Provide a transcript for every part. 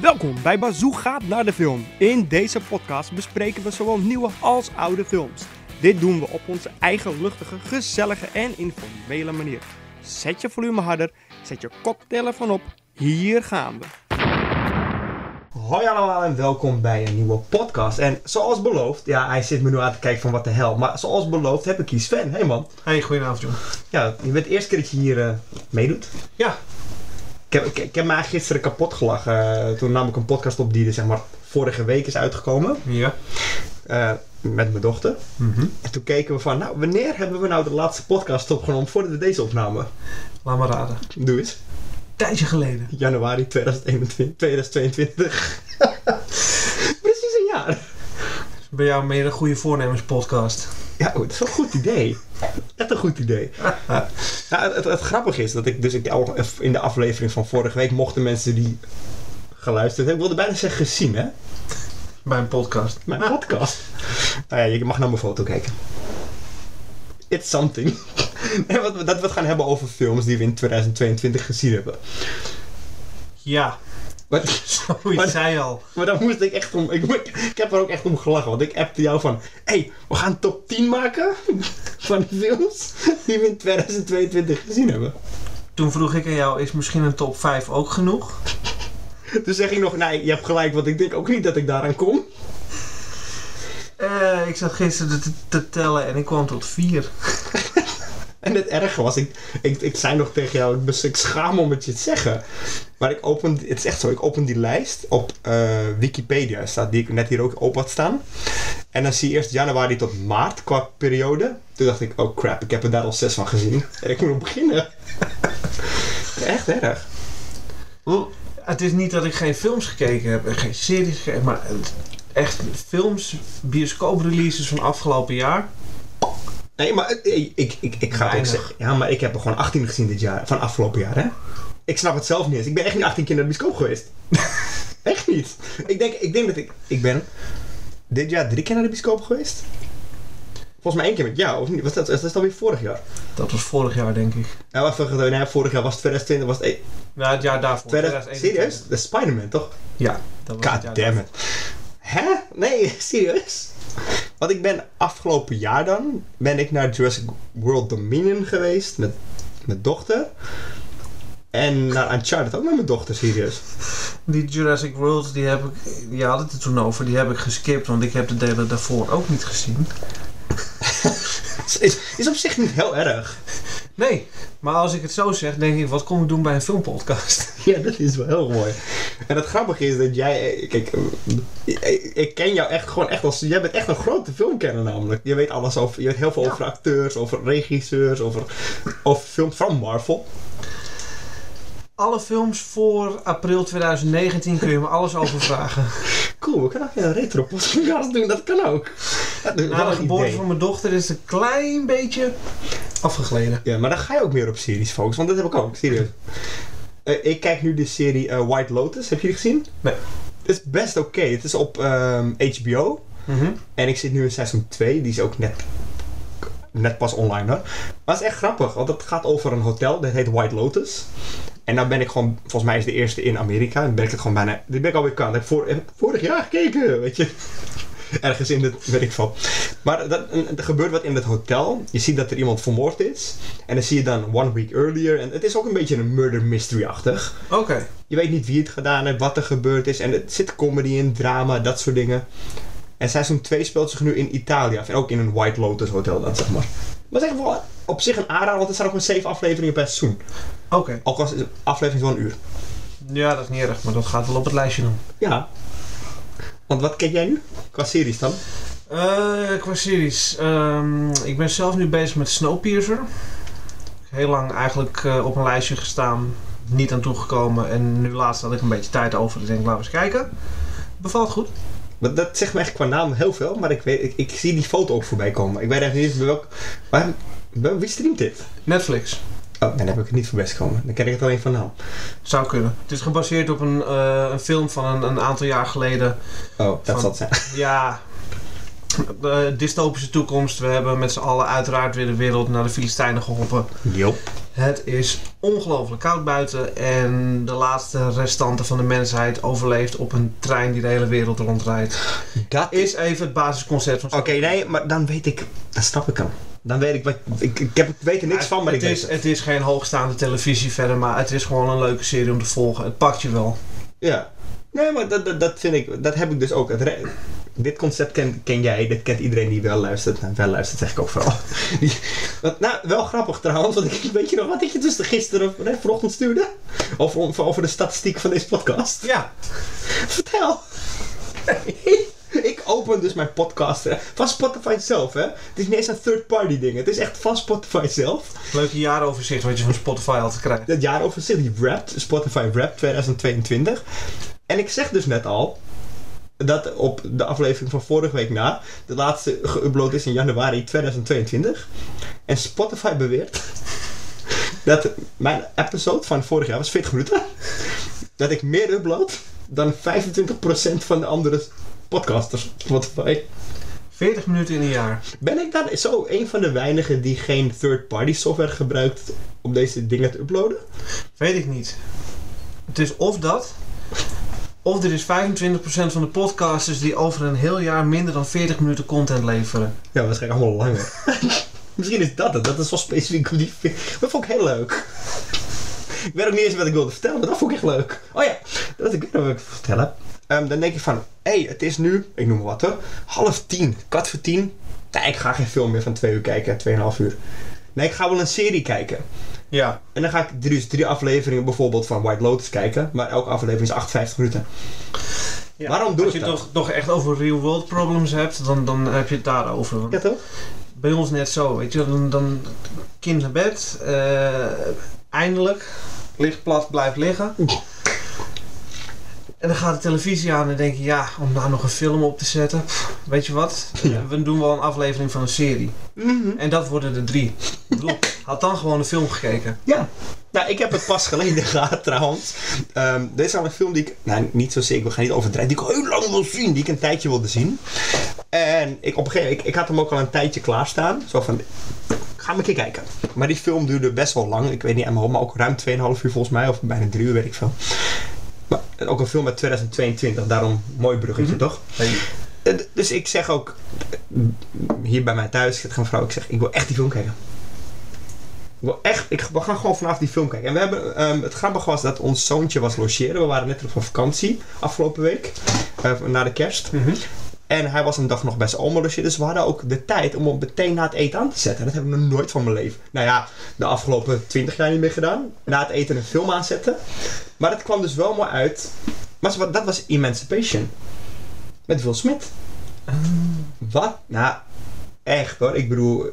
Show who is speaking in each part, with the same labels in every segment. Speaker 1: Welkom bij Bazoo gaat naar de film. In deze podcast bespreken we zowel nieuwe als oude films. Dit doen we op onze eigen luchtige, gezellige en informele manier. Zet je volume harder, zet je koptelefoon op. Hier gaan we. Hoi allemaal en welkom bij een nieuwe podcast. En zoals beloofd, ja, hij zit me nu aan te kijken van wat de hel. Maar zoals beloofd heb ik hier Sven. Hey man.
Speaker 2: Hey, goedenavond jongen.
Speaker 1: Ja, je bent de eerste keer dat je hier eh, meedoet.
Speaker 2: Ja.
Speaker 1: Ik heb, ik, ik heb me eigenlijk gisteren kapot gelachen. eh, toen nam ik een podcast op die er zeg maar vorige week is uitgekomen.
Speaker 2: Ja. Mhm.
Speaker 1: eh, met mijn dochter. En toen keken we van, nou, wanneer hebben we nou de laatste podcast opgenomen voordat we deze opname?
Speaker 2: Laat maar raden.
Speaker 1: Doe eens.
Speaker 2: Tijdje geleden.
Speaker 1: Januari 2021, 2022. Precies een jaar.
Speaker 2: Dus bij jou meer een goede voornemens podcast.
Speaker 1: Ja, goed, dat is wel een goed idee. Echt een goed idee. Nou, het, het, het grappige is dat ik dus ik, al- in de aflevering van vorige week mochten mensen die geluisterd hebben. Ik wilde bijna zeggen gezien, hè?
Speaker 2: Bij een podcast.
Speaker 1: Mijn podcast. Ah. Nou ja, je mag naar mijn foto kijken. It's something. En wat, we- dat we het gaan hebben over films die we in 2022 gezien hebben.
Speaker 2: Ja.
Speaker 1: Maar,
Speaker 2: Zo je
Speaker 1: Maar-
Speaker 2: zei al.
Speaker 1: maar daar moest ik echt om... Ik, mo- ik heb er ook echt om gelachen. Want ik appte jou van... hey, we gaan top 10 maken van films die we in 2022 gezien hebben.
Speaker 2: Toen vroeg ik aan jou, is misschien een top 5 ook genoeg?
Speaker 1: Toen zeg ik nog... Nee, je hebt gelijk, want ik denk ook niet dat ik daaraan kom.
Speaker 2: Eh, ik zat gisteren te, te tellen en ik kwam tot 4.
Speaker 1: En het erge was, ik, ik, ik zei nog tegen jou, ik, bes- ik schaam me om het je te zeggen. Maar ik open, het is echt zo, ik open die lijst op eh, Wikipedia, staat, die ik net hier ook op had staan. En dan zie je eerst januari tot maart qua periode. Toen dacht ik, oh crap, ik heb er daar al zes van gezien. En ik moet nog beginnen. echt erg.
Speaker 2: Het is niet dat ik geen films gekeken heb en geen series gekeken, maar het- echt films, bioscoopreleases van afgelopen jaar.
Speaker 1: Nee, maar eh, ik, ik, ik, ik ga het ook
Speaker 2: Weinig.
Speaker 1: zeggen. Ja, maar ik heb er gewoon 18 gezien dit jaar, van afgelopen jaar, hè? Ik snap het zelf niet eens. Ik ben echt niet 18 keer naar de bioscoop geweest. echt niet. Ik denk, ik denk dat ik... Ik ben dit jaar drie keer naar de bioscoop geweest. Volgens mij één keer met jou, of niet? Was dat, dat is alweer vorig jaar. Nou,
Speaker 2: Dat was vorig jaar, denk ik.
Speaker 1: Ja, wat voor gedaan? Nee, vorig jaar was 2020, was het... eh,
Speaker 2: Ja, het jaar daarvoor.
Speaker 1: 2000
Speaker 2: 2021.
Speaker 1: serieus? Dat is Spider-Man, toch?
Speaker 2: Ja, dat was het jaar
Speaker 1: God damn it. Hè? Nee, serieus? Want ik ben afgelopen jaar dan, ben ik naar Jurassic World Dominion geweest met mijn dochter. En naar Uncharted ook met mijn dochter, serieus.
Speaker 2: Die Jurassic World, die heb ik. Je had het er toen over, die heb ik geskipt, want ik heb de delen daarvoor ook niet gezien.
Speaker 1: Is- Is, is op zich niet heel erg.
Speaker 2: Nee, maar als ik het zo zeg, denk ik, wat kom ik doen bij een filmpodcast?
Speaker 1: Ja, dat is wel heel mooi. En het grappige is dat jij... eh, Kijk, eh, ik, ik ken jou echt gewoon echt als... Jij bent echt een grote filmkenner namelijk. Je weet alles over... Je weet heel veel
Speaker 2: Ja.
Speaker 1: over acteurs, over regisseurs, over, over films van Marvel.
Speaker 2: Alle films voor april 2019 kun je me alles over vragen.
Speaker 1: Cool, we kunnen ook een retro podcast doen, dat kan ook. Dat is
Speaker 2: Na
Speaker 1: wel
Speaker 2: de
Speaker 1: een
Speaker 2: geboorte
Speaker 1: idee.
Speaker 2: Nou, van mijn dochter is het een klein beetje afgegleden.
Speaker 1: Ja, maar dan ga je ook meer op series focussen, want dat heb ik ook, serieus. Eh, ik kijk nu de serie eh, White Lotus, heb je die gezien?
Speaker 2: Nee.
Speaker 1: Het is best oké, het is op ehm, HBO en ik zit nu in seizoen 2, die is ook net, net pas online hoor. Maar het is echt grappig, want het gaat over een hotel, dat heet White Lotus. En dan ben ik gewoon, volgens mij is de eerste in Amerika, dan ben ik het gewoon bijna, dit ben ik alweer kan. Dat heb ik voor, heb ik vorig jaar gekeken, weet je. Ergens in het, weet ik veel. Maar dat, en- en er gebeurt wat in het hotel. Je ziet dat er iemand vermoord is. En dan zie je dan One Week Earlier. En het is ook een beetje een murder mystery-achtig.
Speaker 2: Oké,
Speaker 1: Je weet niet wie het gedaan heeft, wat er gebeurd is. En het zit comedy in, drama, dat soort dingen. En seizoen 2 speelt zich nu in Italië. af. En ook in een White Lotus hotel dan, zeg maar. Maar zeg wel op zich een aanrader, want er staan ook maar 7 afleveringen per seizoen.
Speaker 2: oké.
Speaker 1: Ook al is een aflevering zo'n uur.
Speaker 2: Ja, dat is niet erg, maar dat gaat wel op het lijstje dan.
Speaker 1: Ja. Want wat kijk jij nu? Qua series dan?
Speaker 2: Eh, qua series. ehm, ik ben zelf nu bezig met Snowpiercer. Heel lang eigenlijk eh, op een lijstje gestaan, niet aan toegekomen. En nu laatst had ik een beetje tijd over, dus ik denk laten we eens kijken. Bevalt goed.
Speaker 1: Want dat zegt me echt qua naam heel veel, maar ik, weet, ik, ik zie die foto ook voorbij komen. Ik weet echt niet eens bij welk... Waar, bij- wie streamt dit?
Speaker 2: Netflix.
Speaker 1: Oh, dan heb ik het niet voor best komen. Dan ken ik het alleen van naam.
Speaker 2: Zou kunnen. Het is gebaseerd op een, eh, een film van een, een aantal jaar geleden.
Speaker 1: Oh, dat
Speaker 2: Van-
Speaker 1: zal het zijn.
Speaker 2: Ja, de dystopische toekomst. We hebben met z'n allen uiteraard weer de wereld naar de Filistijnen geholpen.
Speaker 1: Jop.
Speaker 2: Het is ongelooflijk koud buiten en de laatste restanten van de mensheid overleeft op een trein die de hele wereld rondrijdt.
Speaker 1: Dat
Speaker 2: Is even het basisconcept van
Speaker 1: Oké, nee, maar dan weet ik... Dan snap ik hem. Dan weet ik... Wat, ik, ik heb, ik weet er niks van, maar ik
Speaker 2: het
Speaker 1: weet
Speaker 2: is,
Speaker 1: het.
Speaker 2: het is geen hoogstaande televisie verder, maar het is gewoon een leuke serie om te volgen. Het pakt je wel.
Speaker 1: Ja. Nee, maar dat, dat, dat vind ik... Dat heb ik dus ook. Het re- dit concept ken, ken jij. Dit kent iedereen die wel luistert. Nou, wel luistert zeg ik ook vooral. Die- Wat, nou, wel grappig trouwens. Want ik weet je nog wat ik je dus gisteren of nee, vanochtend stuurde? Over, over, over de statistiek van deze podcast.
Speaker 2: Ja,
Speaker 1: Vertel. ik open dus mijn podcast hè, van Spotify zelf, hè. Het is niet eens een third-party ding. Het is echt van Spotify zelf.
Speaker 2: leuke jaaroverzicht wat je van Spotify altijd krijgt.
Speaker 1: Dat jaaroverzicht, die Wrapped, Spotify Wrapped 2022. En ik zeg dus net al dat op de aflevering van vorige week na, de laatste geüpload is in januari 2022. En Spotify beweert dat mijn episode van vorig jaar was 40 minuten. Dat ik meer upload dan 25% van de andere podcasters op Spotify.
Speaker 2: 40 minuten in een jaar.
Speaker 1: Ben ik dan zo een van de weinigen die geen third-party software gebruikt om deze dingen te uploaden?
Speaker 2: Weet ik niet. Het is of dat. Of er is 25% van de podcasters die over een heel jaar minder dan 40 minuten content leveren.
Speaker 1: Ja, waarschijnlijk allemaal langer. Misschien is dat het. Dat is wel specifiek hoe die fi- Dat vond ik heel leuk. ik weet ook niet eens wat ik wilde vertellen, maar dat vond ik echt leuk. Oh ja, dat ik weet nog wat ik wil vertellen. Ehm, dan denk je van, hé, hey, het is nu, ik noem maar wat hoor, half tien, kwart voor tien. Nee, ik ga geen film meer van twee uur kijken, tweeënhalf uur. Nee, ik ga wel een serie kijken.
Speaker 2: Ja.
Speaker 1: En dan ga ik drie, drie afleveringen bijvoorbeeld van White Lotus kijken, maar elke aflevering is 58 minuten. Waarom doe
Speaker 2: Als
Speaker 1: ik
Speaker 2: je
Speaker 1: dat?
Speaker 2: toch, toch echt over real world problems hebt, dan, dan heb je het daarover. Want
Speaker 1: Ja toch?
Speaker 2: Bij ons net zo, weet je. Dan, dan kind naar bed, eh, eindelijk, ligt plat, blijft liggen. En dan gaat de televisie aan en denk je, ja, om daar nog een film op te zetten. pff, weet je wat,
Speaker 1: Ja.
Speaker 2: we doen wel een aflevering van een serie.
Speaker 1: Mhm.
Speaker 2: En dat worden er drie. Ik bedoel, had dan gewoon een film gekeken.
Speaker 1: Ja. Nou, ik heb het pas geleden gehad trouwens. Ehm dit is al een film die ik, nou niet zozeer, ik wil gaan niet overdrijven, die ik al heel lang wil zien, die ik een tijdje wilde zien. En ik, op een gegeven moment, ik, ik had hem ook al een tijdje klaarstaan. Zo van, ga maar een keer kijken. Maar die film duurde best wel lang, ik weet niet helemaal, maar ook ruim 2,5 uur volgens mij, of bijna 3 uur, weet ik veel. Maar ook een film uit 2022, daarom mooi bruggetje toch? Eh, d- Dus ik zeg ook, eh, hier bij mij thuis zit een vrouw, ik zeg, ik wil echt die film kijken. Ik wil echt, ik, we gaan gewoon vanaf die film kijken. En we hebben, ehm, het grappige was dat ons zoontje was logeren. We waren net terug van vakantie afgelopen week, eh, na de kerst. En hij was een dag nog bij zijn oma logeren. Dus we hadden ook de tijd om hem meteen na het eten aan te zetten. Dat heb ik nog nooit van mijn leven. Nou ja, de afgelopen 20 jaar niet meer gedaan. Na het eten een film aanzetten. Maar het kwam dus wel mooi uit. Maar ze- dat was Emancipation. Met Will Smith. Wat? Nou, echt hoor. Ik bedoel,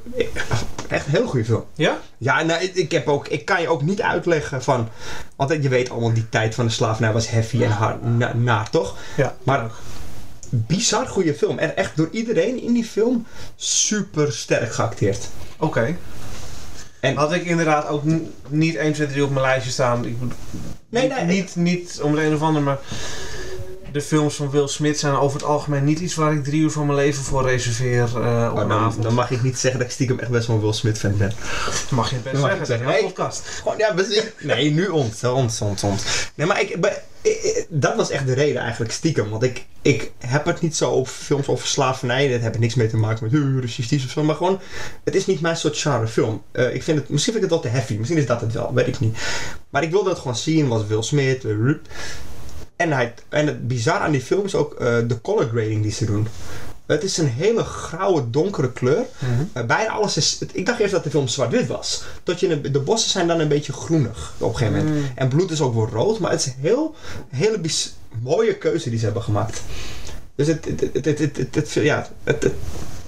Speaker 1: echt een heel goede film.
Speaker 2: Ja?
Speaker 1: Ja, nou, ik, ik heb ook, ik kan je ook niet uitleggen van. Want je weet allemaal, die tijd van de slavernij was heavy en hard, na, naar, toch?
Speaker 2: Ja.
Speaker 1: Maar bizar goede film. En echt door iedereen in die film super sterk geacteerd.
Speaker 2: Oké.
Speaker 1: En-
Speaker 2: Had ik inderdaad ook n- niet 1, 2, 3 op mijn lijstje staan. Ik bedoel,
Speaker 1: Nee,
Speaker 2: niet,
Speaker 1: nee,
Speaker 2: Niet, niet om de een of ander, maar de films van Will Smith zijn over het algemeen niet iets waar ik drie uur van mijn leven voor reserveer eh, op
Speaker 1: Oh,
Speaker 2: een
Speaker 1: dan,
Speaker 2: avond.
Speaker 1: dan mag ik niet zeggen dat ik stiekem echt best wel een Will Smith fan ben.
Speaker 2: mag je het best
Speaker 1: dan mag
Speaker 2: zeggen.
Speaker 1: ik
Speaker 2: Het is
Speaker 1: zeggen,
Speaker 2: jouw
Speaker 1: nee.
Speaker 2: podcast.
Speaker 1: Gewoon, ja, best- nee, nu ons, hè, ons, ons, ons. Nee, maar ik, be- ik- ik- dat was echt de reden eigenlijk stiekem. Want ik, ik heb het niet zo op films over slavernij. Dat heeft niks mee te maken met uh, racistisch of zo. Maar gewoon, het is niet mijn soort genre film. Eh, ik vind het, misschien vind ik het wel te heavy. Misschien is dat het wel, weet ik niet. Maar ik wilde het gewoon zien. Was Will Smith, eh, rup. En, hij, en het bizar aan die film is ook eh, de color grading die ze doen. Het is een hele grauwe, donkere kleur. Eh, bijna alles is. het- ik dacht eerst dat de film zwart-wit was. Tot je de, de bossen zijn dan een beetje groenig op een gegeven moment.
Speaker 2: Mm.
Speaker 1: En bloed is ook wel rood, maar het is een heel, hele bis- mooie keuze die ze hebben gemaakt. Dus het, het, het, het, het, het- het- ja, het, het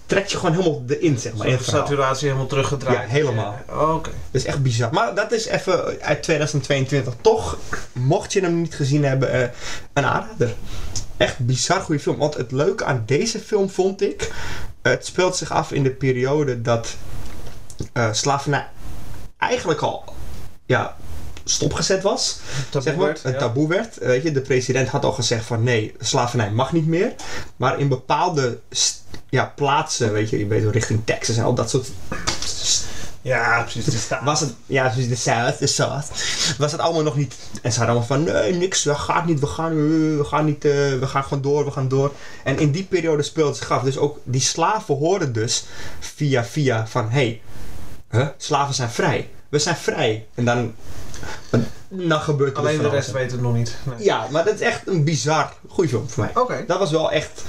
Speaker 1: trekt je gewoon helemaal erin, zeg maar. in
Speaker 2: Zodat
Speaker 1: het
Speaker 2: de
Speaker 1: verhaal.
Speaker 2: saturatie helemaal teruggedraaid.
Speaker 1: Ja, helemaal.
Speaker 2: Ja, Oké.
Speaker 1: Dat is echt bizar. Maar dat is even uit 2022. Toch, mocht je hem niet gezien hebben, eh, een aanrader. Echt bizar goede film. Want het leuke aan deze film vond ik... eh, het speelt zich af in de periode dat eh slavernij eigenlijk al ja, stopgezet was.
Speaker 2: Taboe
Speaker 1: zeg maar,
Speaker 2: werd,
Speaker 1: een
Speaker 2: ja.
Speaker 1: taboe werd. Eh, Weet je, de president had al gezegd van nee, slavernij mag niet meer. Maar in bepaalde st- ja, plaatsen, weet je, je weet wel, richting Texas en al dat soort st-
Speaker 2: Ja, precies. De staat.
Speaker 1: Was het, ja, precies, de South, de South. Was het allemaal nog niet. En ze hadden allemaal van, nee, niks, we gaan niet, we gaan, eh, we gaan niet, eh, we gaan gewoon door, we gaan door. En in die periode speelde het zich af. Dus ook die slaven hoorden dus via, via van, hé, hey, huh, slaven zijn vrij. We zijn vrij. En dan, dan gebeurt er
Speaker 2: Alleen
Speaker 1: dus
Speaker 2: de
Speaker 1: van
Speaker 2: rest
Speaker 1: alles.
Speaker 2: weet het nog niet. Nee.
Speaker 1: Ja, maar dat is echt een bizar goede film voor mij.
Speaker 2: Oké.
Speaker 1: Dat was wel echt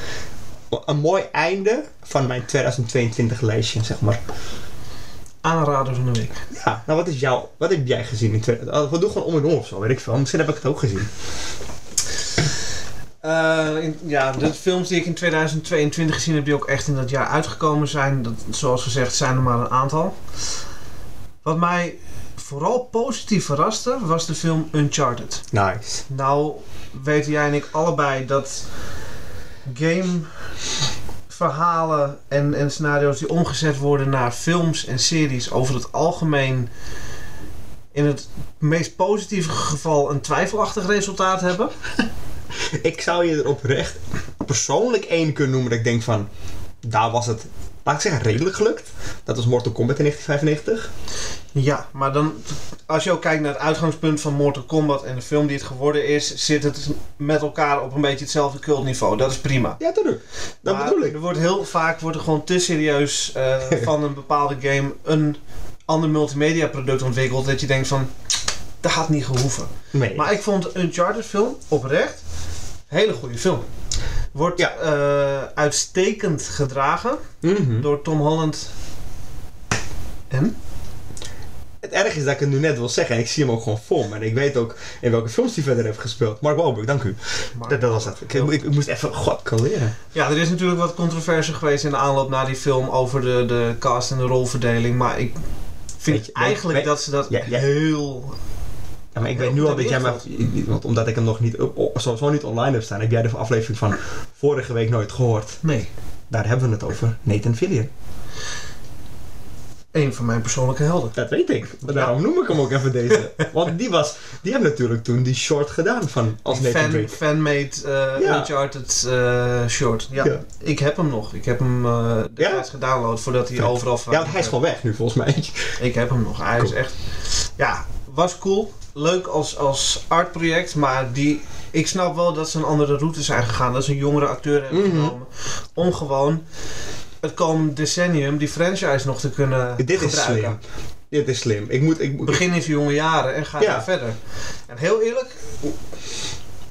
Speaker 1: een mooi einde van mijn 2022 lijstje, zeg maar.
Speaker 2: Aanrader van de week.
Speaker 1: Ja, nou wat is jouw, wat heb jij gezien in 2000? We doen gewoon om en om of zo, weet ik veel. Misschien heb ik het ook gezien.
Speaker 2: Eh, in- ja, de films die ik in 2022 gezien heb, die ook echt in dat jaar uitgekomen zijn, dat, zoals gezegd, zijn er maar een aantal. Wat mij vooral positief verraste, was de film Uncharted.
Speaker 1: Nice.
Speaker 2: Nou, weten jij en ik allebei dat game verhalen en, en scenario's die omgezet worden naar films en series over het algemeen in het meest positieve geval een twijfelachtig resultaat hebben.
Speaker 1: Ik zou je er oprecht persoonlijk één kunnen noemen dat ik denk van, daar was het, laat ik zeggen, redelijk gelukt. Dat was Mortal Kombat in 1995.
Speaker 2: Ja, maar dan, als je ook kijkt naar het uitgangspunt van Mortal Kombat en de film die het geworden is, zit het met elkaar op een beetje hetzelfde cultniveau. Dat is prima.
Speaker 1: Ja, natuurlijk. Dat
Speaker 2: Maar
Speaker 1: bedoel ik.
Speaker 2: Er wordt heel vaak wordt er gewoon te serieus eh, van een bepaalde game een ander multimedia product ontwikkeld dat je denkt van, dat had niet gehoeven.
Speaker 1: Nee.
Speaker 2: Maar ik vond de Uncharted film oprecht een hele goede film. Wordt
Speaker 1: Ja.
Speaker 2: eh, uitstekend gedragen
Speaker 1: Mhm.
Speaker 2: door Tom Holland en
Speaker 1: Het erg is dat ik het nu net wil zeggen en ik zie hem ook gewoon voor me. En ik weet ook in welke films hij verder heeft gespeeld. Mark Wahlberg, dank u.
Speaker 2: Mark
Speaker 1: Dat, dat was het. Ik, ik, ik moest even, god, kan leren.
Speaker 2: Ja, er is natuurlijk wat controverse geweest in de aanloop naar die film over de, de cast en de rolverdeling. Maar ik vind
Speaker 1: Weet je,
Speaker 2: eigenlijk
Speaker 1: weet-
Speaker 2: dat ze dat
Speaker 1: Ja, ja.
Speaker 2: heel.
Speaker 1: Ja, maar ik
Speaker 2: Ja,
Speaker 1: weet nu
Speaker 2: goed,
Speaker 1: al dat
Speaker 2: dat
Speaker 1: jij mij...
Speaker 2: heeft
Speaker 1: Want omdat ik hem nog niet, op- op- sowieso niet online heb staan, heb jij de aflevering van vorige week nooit gehoord.
Speaker 2: Nee.
Speaker 1: Daar hebben we het over. Nathan Fillion.
Speaker 2: Een van mijn persoonlijke helden.
Speaker 1: Dat weet ik. Maar daarom noem ik hem ook even deze. Want die was... Die hebben natuurlijk toen die short gedaan van als
Speaker 2: Die
Speaker 1: Nathan
Speaker 2: fan,
Speaker 1: Drake.
Speaker 2: fanmade eh,
Speaker 1: Ja.
Speaker 2: Uncharted eh, short. Ja,
Speaker 1: Ja.
Speaker 2: ik heb hem nog. Ik heb hem eh destijds gedownload voordat hij
Speaker 1: Vet.
Speaker 2: overal
Speaker 1: Ja, want hij is gewoon weg nu volgens mij.
Speaker 2: Ik heb hem nog. Hij is
Speaker 1: Cool.
Speaker 2: echt. Ja, was cool. Leuk als, als artproject, maar die. Ik snap wel dat ze een andere route zijn gegaan. Dat ze een jongere acteur hebben
Speaker 1: Mhm.
Speaker 2: genomen. Om gewoon het komende decennium die franchise nog te kunnen
Speaker 1: Dit is
Speaker 2: gebruiken.
Speaker 1: slim. Dit is slim. Ik moet... Ik, moet-
Speaker 2: Begin in zijn jonge jaren en ga
Speaker 1: Ja.
Speaker 2: daar verder. En heel eerlijk.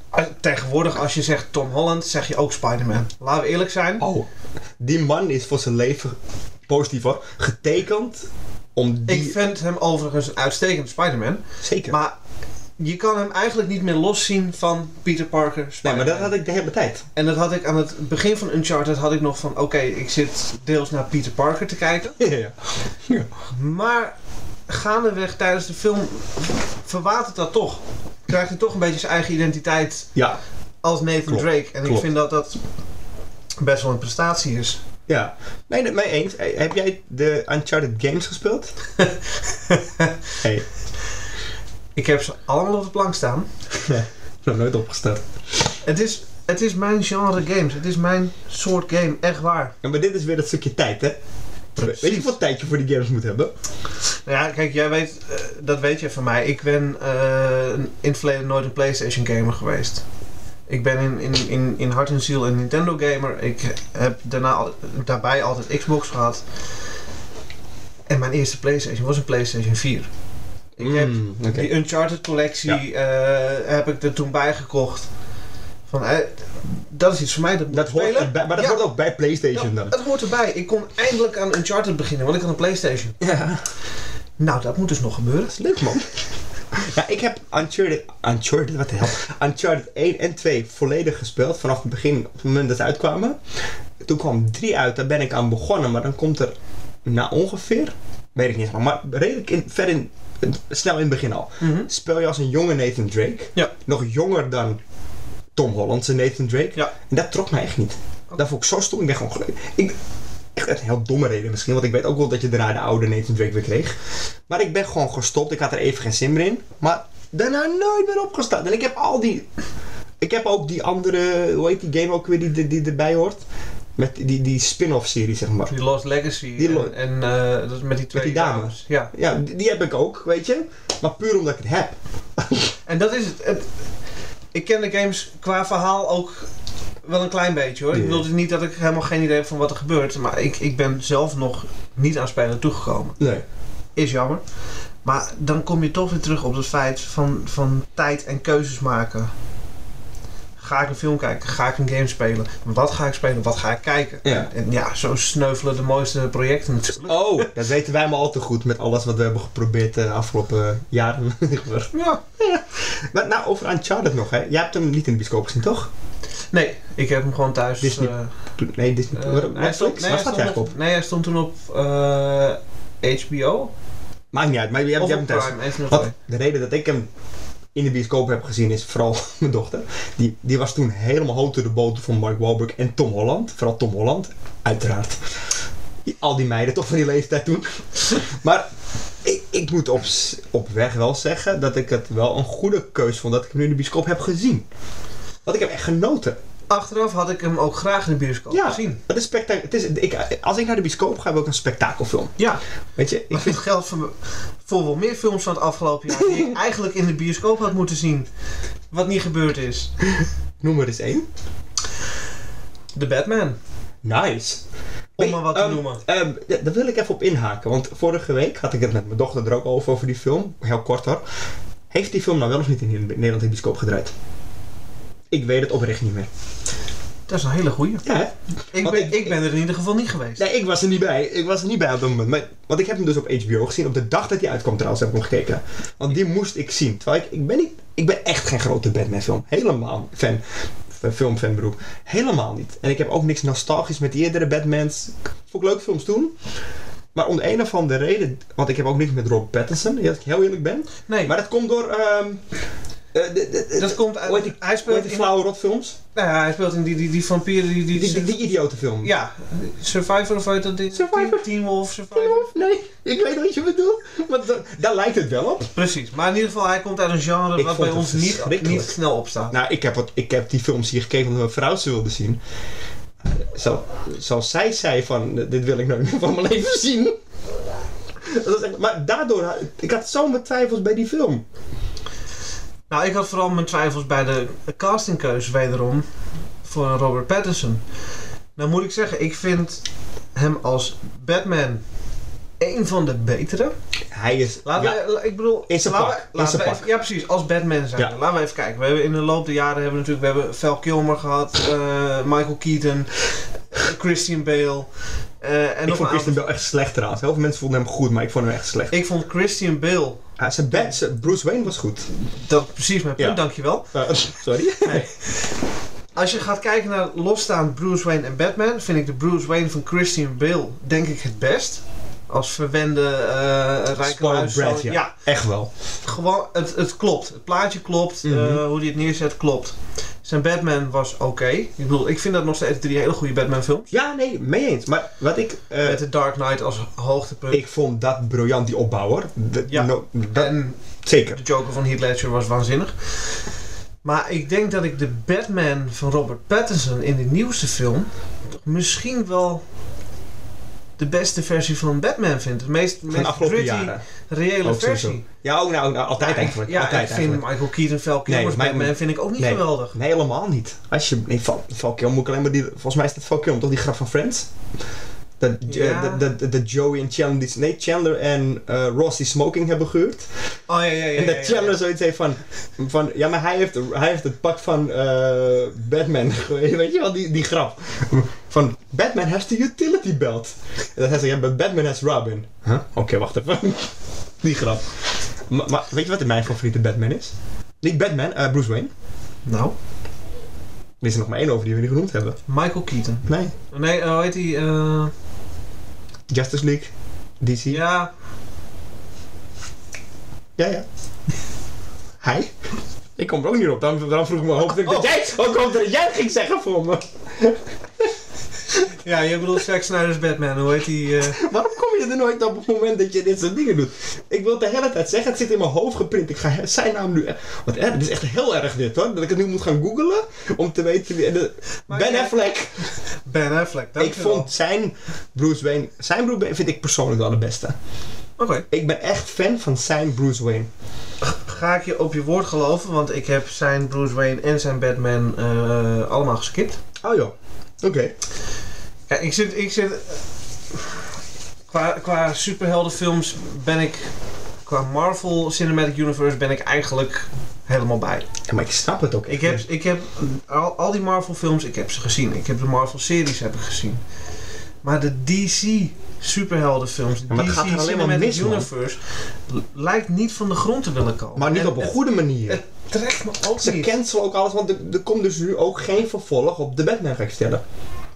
Speaker 2: als- Tegenwoordig, als je zegt Tom Holland, zeg je ook Spider-Man. Laten we eerlijk zijn.
Speaker 1: oh. Die man is voor zijn leven positief hoor. Getekend om die...
Speaker 2: Ik vind hem overigens een uitstekende Spider-Man.
Speaker 1: Zeker.
Speaker 2: Maar je kan hem eigenlijk niet meer loszien van Peter Parker.
Speaker 1: nee, maar
Speaker 2: Spider-Man.
Speaker 1: dat had ik de hele tijd.
Speaker 2: En dat had ik aan het begin van Uncharted had ik nog van oké, ik zit deels naar Peter Parker te kijken.
Speaker 1: Ja, ja.
Speaker 2: Maar gaandeweg tijdens de film verwatert dat toch. Krijgt hij toch een beetje zijn eigen identiteit
Speaker 1: Ja.
Speaker 2: als Nathan
Speaker 1: Klopt,
Speaker 2: Drake. En
Speaker 1: klopt.
Speaker 2: ik vind dat dat best wel een prestatie is.
Speaker 1: Ja, nee, nee, mee eens. Hey, Heb jij de Uncharted Games gespeeld? hey,
Speaker 2: Ik heb ze allemaal op de plank staan.
Speaker 1: nog nooit opgestart.
Speaker 2: Het is, het is mijn genre games. Het is mijn soort game. Echt waar.
Speaker 1: Ja, maar dit is weer dat stukje tijd, hè?
Speaker 2: Precies.
Speaker 1: Weet je hoeveel tijd je voor die games moet hebben?
Speaker 2: Nou ja, kijk, jij weet, eh, dat weet je van mij. Ik ben eh, in het verleden nooit een PlayStation gamer geweest. Ik ben in, in, in, in hart en ziel een Nintendo gamer. Ik heb daarna al- daarbij altijd Xbox gehad. En mijn eerste PlayStation was een PlayStation 4. Ik heb
Speaker 1: Mm, oké.
Speaker 2: die Uncharted collectie eh, heb ik er toen bij gekocht. Van, eh, dat is iets voor mij. Dat, moet
Speaker 1: Dat
Speaker 2: ik
Speaker 1: hoort
Speaker 2: spelen.
Speaker 1: erbij, maar dat
Speaker 2: Ja.
Speaker 1: hoort ook bij PlayStation
Speaker 2: Ja,
Speaker 1: dan.
Speaker 2: het hoort erbij. Ik kon eindelijk aan Uncharted beginnen, want ik had een PlayStation.
Speaker 1: Ja,
Speaker 2: Nou, dat moet dus nog gebeuren.
Speaker 1: leuk man. ja, ik heb Uncharted, Uncharted, wat de hel? Uncharted 1 en 2 volledig gespeeld vanaf het begin, op het moment dat ze uitkwamen. Toen kwam 3 uit, daar ben ik aan begonnen, maar dan komt er na ongeveer, weet ik niet, maar, maar redelijk in, ver in, snel in het begin al. speel je als een jonge Nathan Drake.
Speaker 2: Ja.
Speaker 1: Nog jonger dan Tom Hollandse Nathan Drake.
Speaker 2: Ja.
Speaker 1: En dat trok mij echt niet. Dat vond ik zo stom. Ik ben gewoon... gelu- Ik, echt een heel domme reden misschien. Want ik weet ook wel dat je daarna de oude Nathan Drake weer kreeg. Maar ik ben gewoon gestopt. Ik had er even geen zin meer in. Maar daarna nooit meer opgestaan. En ik heb al die... Ik heb ook die andere... Hoe heet die game ook weer die, die, die erbij hoort? Met die, die spin-off serie, zeg maar.
Speaker 2: Die Lost Legacy.
Speaker 1: Die lo-
Speaker 2: en en eh, dat is met die twee
Speaker 1: die dames.
Speaker 2: Ja.
Speaker 1: Ja, die, die heb ik ook, weet je. Maar puur omdat ik het heb.
Speaker 2: En dat is het. het- Ik ken de games qua verhaal ook wel een klein beetje hoor.
Speaker 1: Ja.
Speaker 2: Ik bedoel dus niet dat ik helemaal geen idee heb van wat er gebeurt. Maar ik, ik ben zelf nog niet aan spelen toegekomen.
Speaker 1: Nee.
Speaker 2: Is jammer. Maar dan kom je toch weer terug op het feit van, van tijd en keuzes maken. Ga ik een film kijken? Ga ik een game spelen? Wat ga ik spelen? Wat ga ik kijken?
Speaker 1: Ja.
Speaker 2: En ja, zo sneuvelen de mooiste projecten natuurlijk.
Speaker 1: Oh, dat weten wij maar al te goed met alles wat we hebben geprobeerd de afgelopen eh, jaren.
Speaker 2: Ja.
Speaker 1: maar, nou, over Uncharted nog, hè. Jij hebt hem niet in de bioscoop gezien, toch?
Speaker 2: Nee, ik heb hem gewoon thuis.
Speaker 1: Disney-
Speaker 2: eh,
Speaker 1: Toen- Nee, Disney.
Speaker 2: Eh,
Speaker 1: Uh, Netflix?
Speaker 2: hij stond- nee,
Speaker 1: Waar
Speaker 2: hij
Speaker 1: staat
Speaker 2: stond
Speaker 1: hij eigenlijk op?
Speaker 2: Nee, hij stond toen op eh, HBO.
Speaker 1: Maakt niet uit, maar je hebt,
Speaker 2: of
Speaker 1: je
Speaker 2: op
Speaker 1: hebt hem thuis.
Speaker 2: Prime, een van de
Speaker 1: Wat
Speaker 2: twee.
Speaker 1: de reden dat ik hem in de bioscoop heb gezien is vooral mijn dochter. Die, die was toen helemaal hoog door de boter van Mark Wahlberg en Tom Holland. Vooral Tom Holland, uiteraard. Die- Al die meiden toch van die leeftijd toen. maar ik, ik moet op, s- op weg wel zeggen dat ik het wel een goede keus vond dat ik hem nu in de bioscoop heb gezien. Want ik heb echt genoten.
Speaker 2: Achteraf had ik hem ook graag in de bioscoop
Speaker 1: Ja.
Speaker 2: gezien.
Speaker 1: Het is spectac- het is, ik, als ik naar de bioscoop ga, wil ik een spektakelfilm.
Speaker 2: Ja,
Speaker 1: Weet je, ik
Speaker 2: ik vind geld voor, voor wel meer films van het afgelopen jaar die ik eigenlijk in de bioscoop had moeten zien. Wat niet gebeurd is.
Speaker 1: noem er eens één.
Speaker 2: The Batman,
Speaker 1: Nice.
Speaker 2: om
Speaker 1: Hey,
Speaker 2: maar wat te
Speaker 1: ehm,
Speaker 2: noemen.
Speaker 1: Ehm, d- daar wil ik even op inhaken, want vorige week had ik het met mijn dochter er ook over, over die film. Heel kort hoor. Heeft die film nou wel of niet in Nederland in de bioscoop gedraaid? Ik weet het oprecht niet meer.
Speaker 2: Dat is een hele goeie.
Speaker 1: Ja, hè?
Speaker 2: Ik
Speaker 1: Want
Speaker 2: ben,
Speaker 1: ik-
Speaker 2: ik, ben er in ieder geval niet geweest.
Speaker 1: Nee, ik was er niet bij. Ik was er niet bij op dat moment. Maar, want ik heb hem dus op HBO gezien. Op de dag dat hij uitkwam trouwens heb ik hem gekeken. Want die moest ik zien. Terwijl ik, ik ben niet... Ik ben echt geen grote Batman film. Helemaal fan. f- Filmfan beroep. Helemaal niet. En ik heb ook niks nostalgisch met die eerdere Batmans. Ik vond ik leuke films toen. Maar om de een of andere reden... Want ik heb ook niks met Rob Pattinson. Als ik heel eerlijk ben.
Speaker 2: Nee,
Speaker 1: Maar dat komt door... ehm, eh, de- de- de-
Speaker 2: dat komt
Speaker 1: hoe heet
Speaker 2: uit...
Speaker 1: die-
Speaker 2: Hij
Speaker 1: hoe heet
Speaker 2: speelt
Speaker 1: die
Speaker 2: in...
Speaker 1: flauwe rotfilms?
Speaker 2: Nou ja, hij speelt in die, die, die vampieren die...
Speaker 1: Die,
Speaker 2: die,
Speaker 1: die, die idiotenfilm.
Speaker 2: ja, Survivor of hoe heet dat? ding?
Speaker 1: Survivor.
Speaker 2: Teen Wolf, Survivor.
Speaker 1: Nee, ik weet wat je bedoelt. Want da- daar lijkt het wel op.
Speaker 2: Precies, maar in ieder geval, hij komt uit een genre
Speaker 1: Ik
Speaker 2: wat
Speaker 1: vond
Speaker 2: bij
Speaker 1: het
Speaker 2: ons niet,
Speaker 1: verschrikkelijk.
Speaker 2: niet snel opstaat.
Speaker 1: Nou, ik heb, wat, ik heb die films hier gekeken omdat mijn vrouw ze wilde zien. Zo, zoals zij zei van, eh, dit wil ik nooit meer van mijn leven zien. Dat was echt- maar daardoor, had- ik had zo mijn twijfels bij die film.
Speaker 2: Nou, ik had vooral mijn twijfels bij de castingkeuze wederom voor Robert Pattinson. Nou moet ik zeggen, ik vind hem als Batman een van de betere.
Speaker 1: Hij is...
Speaker 2: Laten
Speaker 1: ja,
Speaker 2: we, la- ik bedoel,
Speaker 1: In zijn
Speaker 2: laten
Speaker 1: pak,
Speaker 2: we,
Speaker 1: in
Speaker 2: laten
Speaker 1: zijn
Speaker 2: we
Speaker 1: pak.
Speaker 2: even, ja precies, als Batman zijn.
Speaker 1: Ja.
Speaker 2: Laten we even kijken. We hebben in de loop der jaren hebben we natuurlijk, we hebben Val Kilmer gehad, eh, Michael Keaton, Christian Bale. eh, en
Speaker 1: ik
Speaker 2: nog een
Speaker 1: vond Christian
Speaker 2: aantal.
Speaker 1: Bale echt slecht trouwens. Heel veel mensen vonden hem goed, maar ik vond hem echt slecht.
Speaker 2: Ik vond Christian Bale,
Speaker 1: Ah, zijn bad, zijn- Bruce Wayne was goed.
Speaker 2: dat precies mijn punt,
Speaker 1: Ja.
Speaker 2: dankjewel.
Speaker 1: Eh, sorry.
Speaker 2: Als je gaat kijken naar losstaand Bruce Wayne en Batman, vind ik de Bruce Wayne van Christian Bale denk ik het best. Als verwende eh rijke
Speaker 1: Spoiled
Speaker 2: huiszoon.
Speaker 1: brat, ja. Echt wel.
Speaker 2: gewoon, het, het klopt. Het plaatje klopt.
Speaker 1: Mhm.
Speaker 2: eh, hoe hij het neerzet klopt. Zijn Batman was oké. Ik bedoel, ik vind dat nog steeds drie hele goede Batman films.
Speaker 1: Ja, nee, mee eens. Maar wat ik... eh,
Speaker 2: Met The Dark Knight als hoogtepunt.
Speaker 1: ik vond dat briljant, die opbouwer. Dat-
Speaker 2: Ja.
Speaker 1: no- dat,
Speaker 2: en
Speaker 1: zeker.
Speaker 2: de Joker van Heath Ledger was waanzinnig. Maar ik denk dat ik de Batman van Robert Pattinson in de nieuwste film toch misschien wel de beste versie van Batman vind. De meest,
Speaker 1: Van de
Speaker 2: meest
Speaker 1: afgelopen
Speaker 2: gritty,
Speaker 1: jaren.
Speaker 2: reële
Speaker 1: Ook sowieso.
Speaker 2: versie.
Speaker 1: Ja, oh, nou, nou, altijd eigenlijk.
Speaker 2: Ja,
Speaker 1: altijd
Speaker 2: ik vind
Speaker 1: eigenlijk.
Speaker 2: Michael Keaton, Val Kilmer's
Speaker 1: Nee, maar-
Speaker 2: Batman vind ik ook niet
Speaker 1: nee.
Speaker 2: geweldig.
Speaker 1: Nee, helemaal niet. Als je... Nee, Val, Val Kilmer moet ik alleen maar die... Volgens mij is dat Val Kilmer toch die grap van Friends? Dat, Jo-
Speaker 2: Ja.
Speaker 1: dat, dat, dat- dat Joey en Chandler... die- Nee, Chandler en eh, Ross die smoking hebben gehuurd.
Speaker 2: Oh ja, ja, ja.
Speaker 1: en dat
Speaker 2: ja, ja.
Speaker 1: Chandler zoiets heeft van, van... Ja, maar hij heeft, hij heeft het pak van eh, Batman. Weet je wel, die, die grap. Van, Batman has the utility belt. En dat hij zegt, ja, but Batman has Robin. Huh? Oké, wacht even. die grap. Maar, maar weet je wat mijn favoriete Batman is? Niet Batman, eh, Bruce Wayne.
Speaker 2: Nou,
Speaker 1: Er is er nog maar één over die we niet genoemd hebben.
Speaker 2: Michael Keaton.
Speaker 1: Nee.
Speaker 2: Nee, eh, hoe heet die? eh,
Speaker 1: Justice League. DC. Ja,
Speaker 2: ja,
Speaker 1: ja. Hij? Ik kom er ook niet op. Daarom, daarom vroeg ik me hoop ik
Speaker 2: Oh.
Speaker 1: dat jij ook hoop dat jij het ging zeggen voor me.
Speaker 2: ja, je bedoelt Zack Snyder's Batman. Hoe heet die? eh?
Speaker 1: Waarom kom je er nooit op het moment dat je dit soort dingen doet? Ik wil het de hele tijd zeggen. Het zit in mijn hoofd geprint. Ik ga he- zijn naam nu... e- Wat erg. Het is echt heel erg dit hoor. Dat ik het nu moet gaan googlen. Om te weten wie... en de-
Speaker 2: Maar
Speaker 1: ben
Speaker 2: jij-
Speaker 1: Affleck.
Speaker 2: Ben Affleck,
Speaker 1: Ik
Speaker 2: dankjewel.
Speaker 1: vond zijn Bruce Wayne... Zijn Bruce Wayne vind ik persoonlijk wel de beste.
Speaker 2: Oké,
Speaker 1: Ik ben echt fan van zijn Bruce Wayne.
Speaker 2: ga ik je op je woord geloven, want ik heb zijn Bruce Wayne en zijn Batman eh, allemaal geskipt.
Speaker 1: Oh joh. Oké.
Speaker 2: Ja, ik zit... Ik zit qua, qua superheldenfilms ben ik... Qua Marvel Cinematic Universe ben ik eigenlijk helemaal bij.
Speaker 1: Ja, maar ik snap het ook.
Speaker 2: Ik heb, ik heb al, al die Marvel films, ik heb ze gezien. Ik heb de Marvel series heb ik gezien. Maar de DC superheldenfilms,
Speaker 1: maar het
Speaker 2: DC
Speaker 1: gaat er alleen maar
Speaker 2: Cinematic
Speaker 1: mis, man.
Speaker 2: Universe, l- lijkt niet van de grond te willen komen.
Speaker 1: Maar niet
Speaker 2: En
Speaker 1: op een
Speaker 2: het
Speaker 1: goede manier.
Speaker 2: het trekt me ook
Speaker 1: Ze
Speaker 2: niet.
Speaker 1: cancelen ook alles, want er, er komt dus nu ook geen vervolg op de Batman ga ik stellen.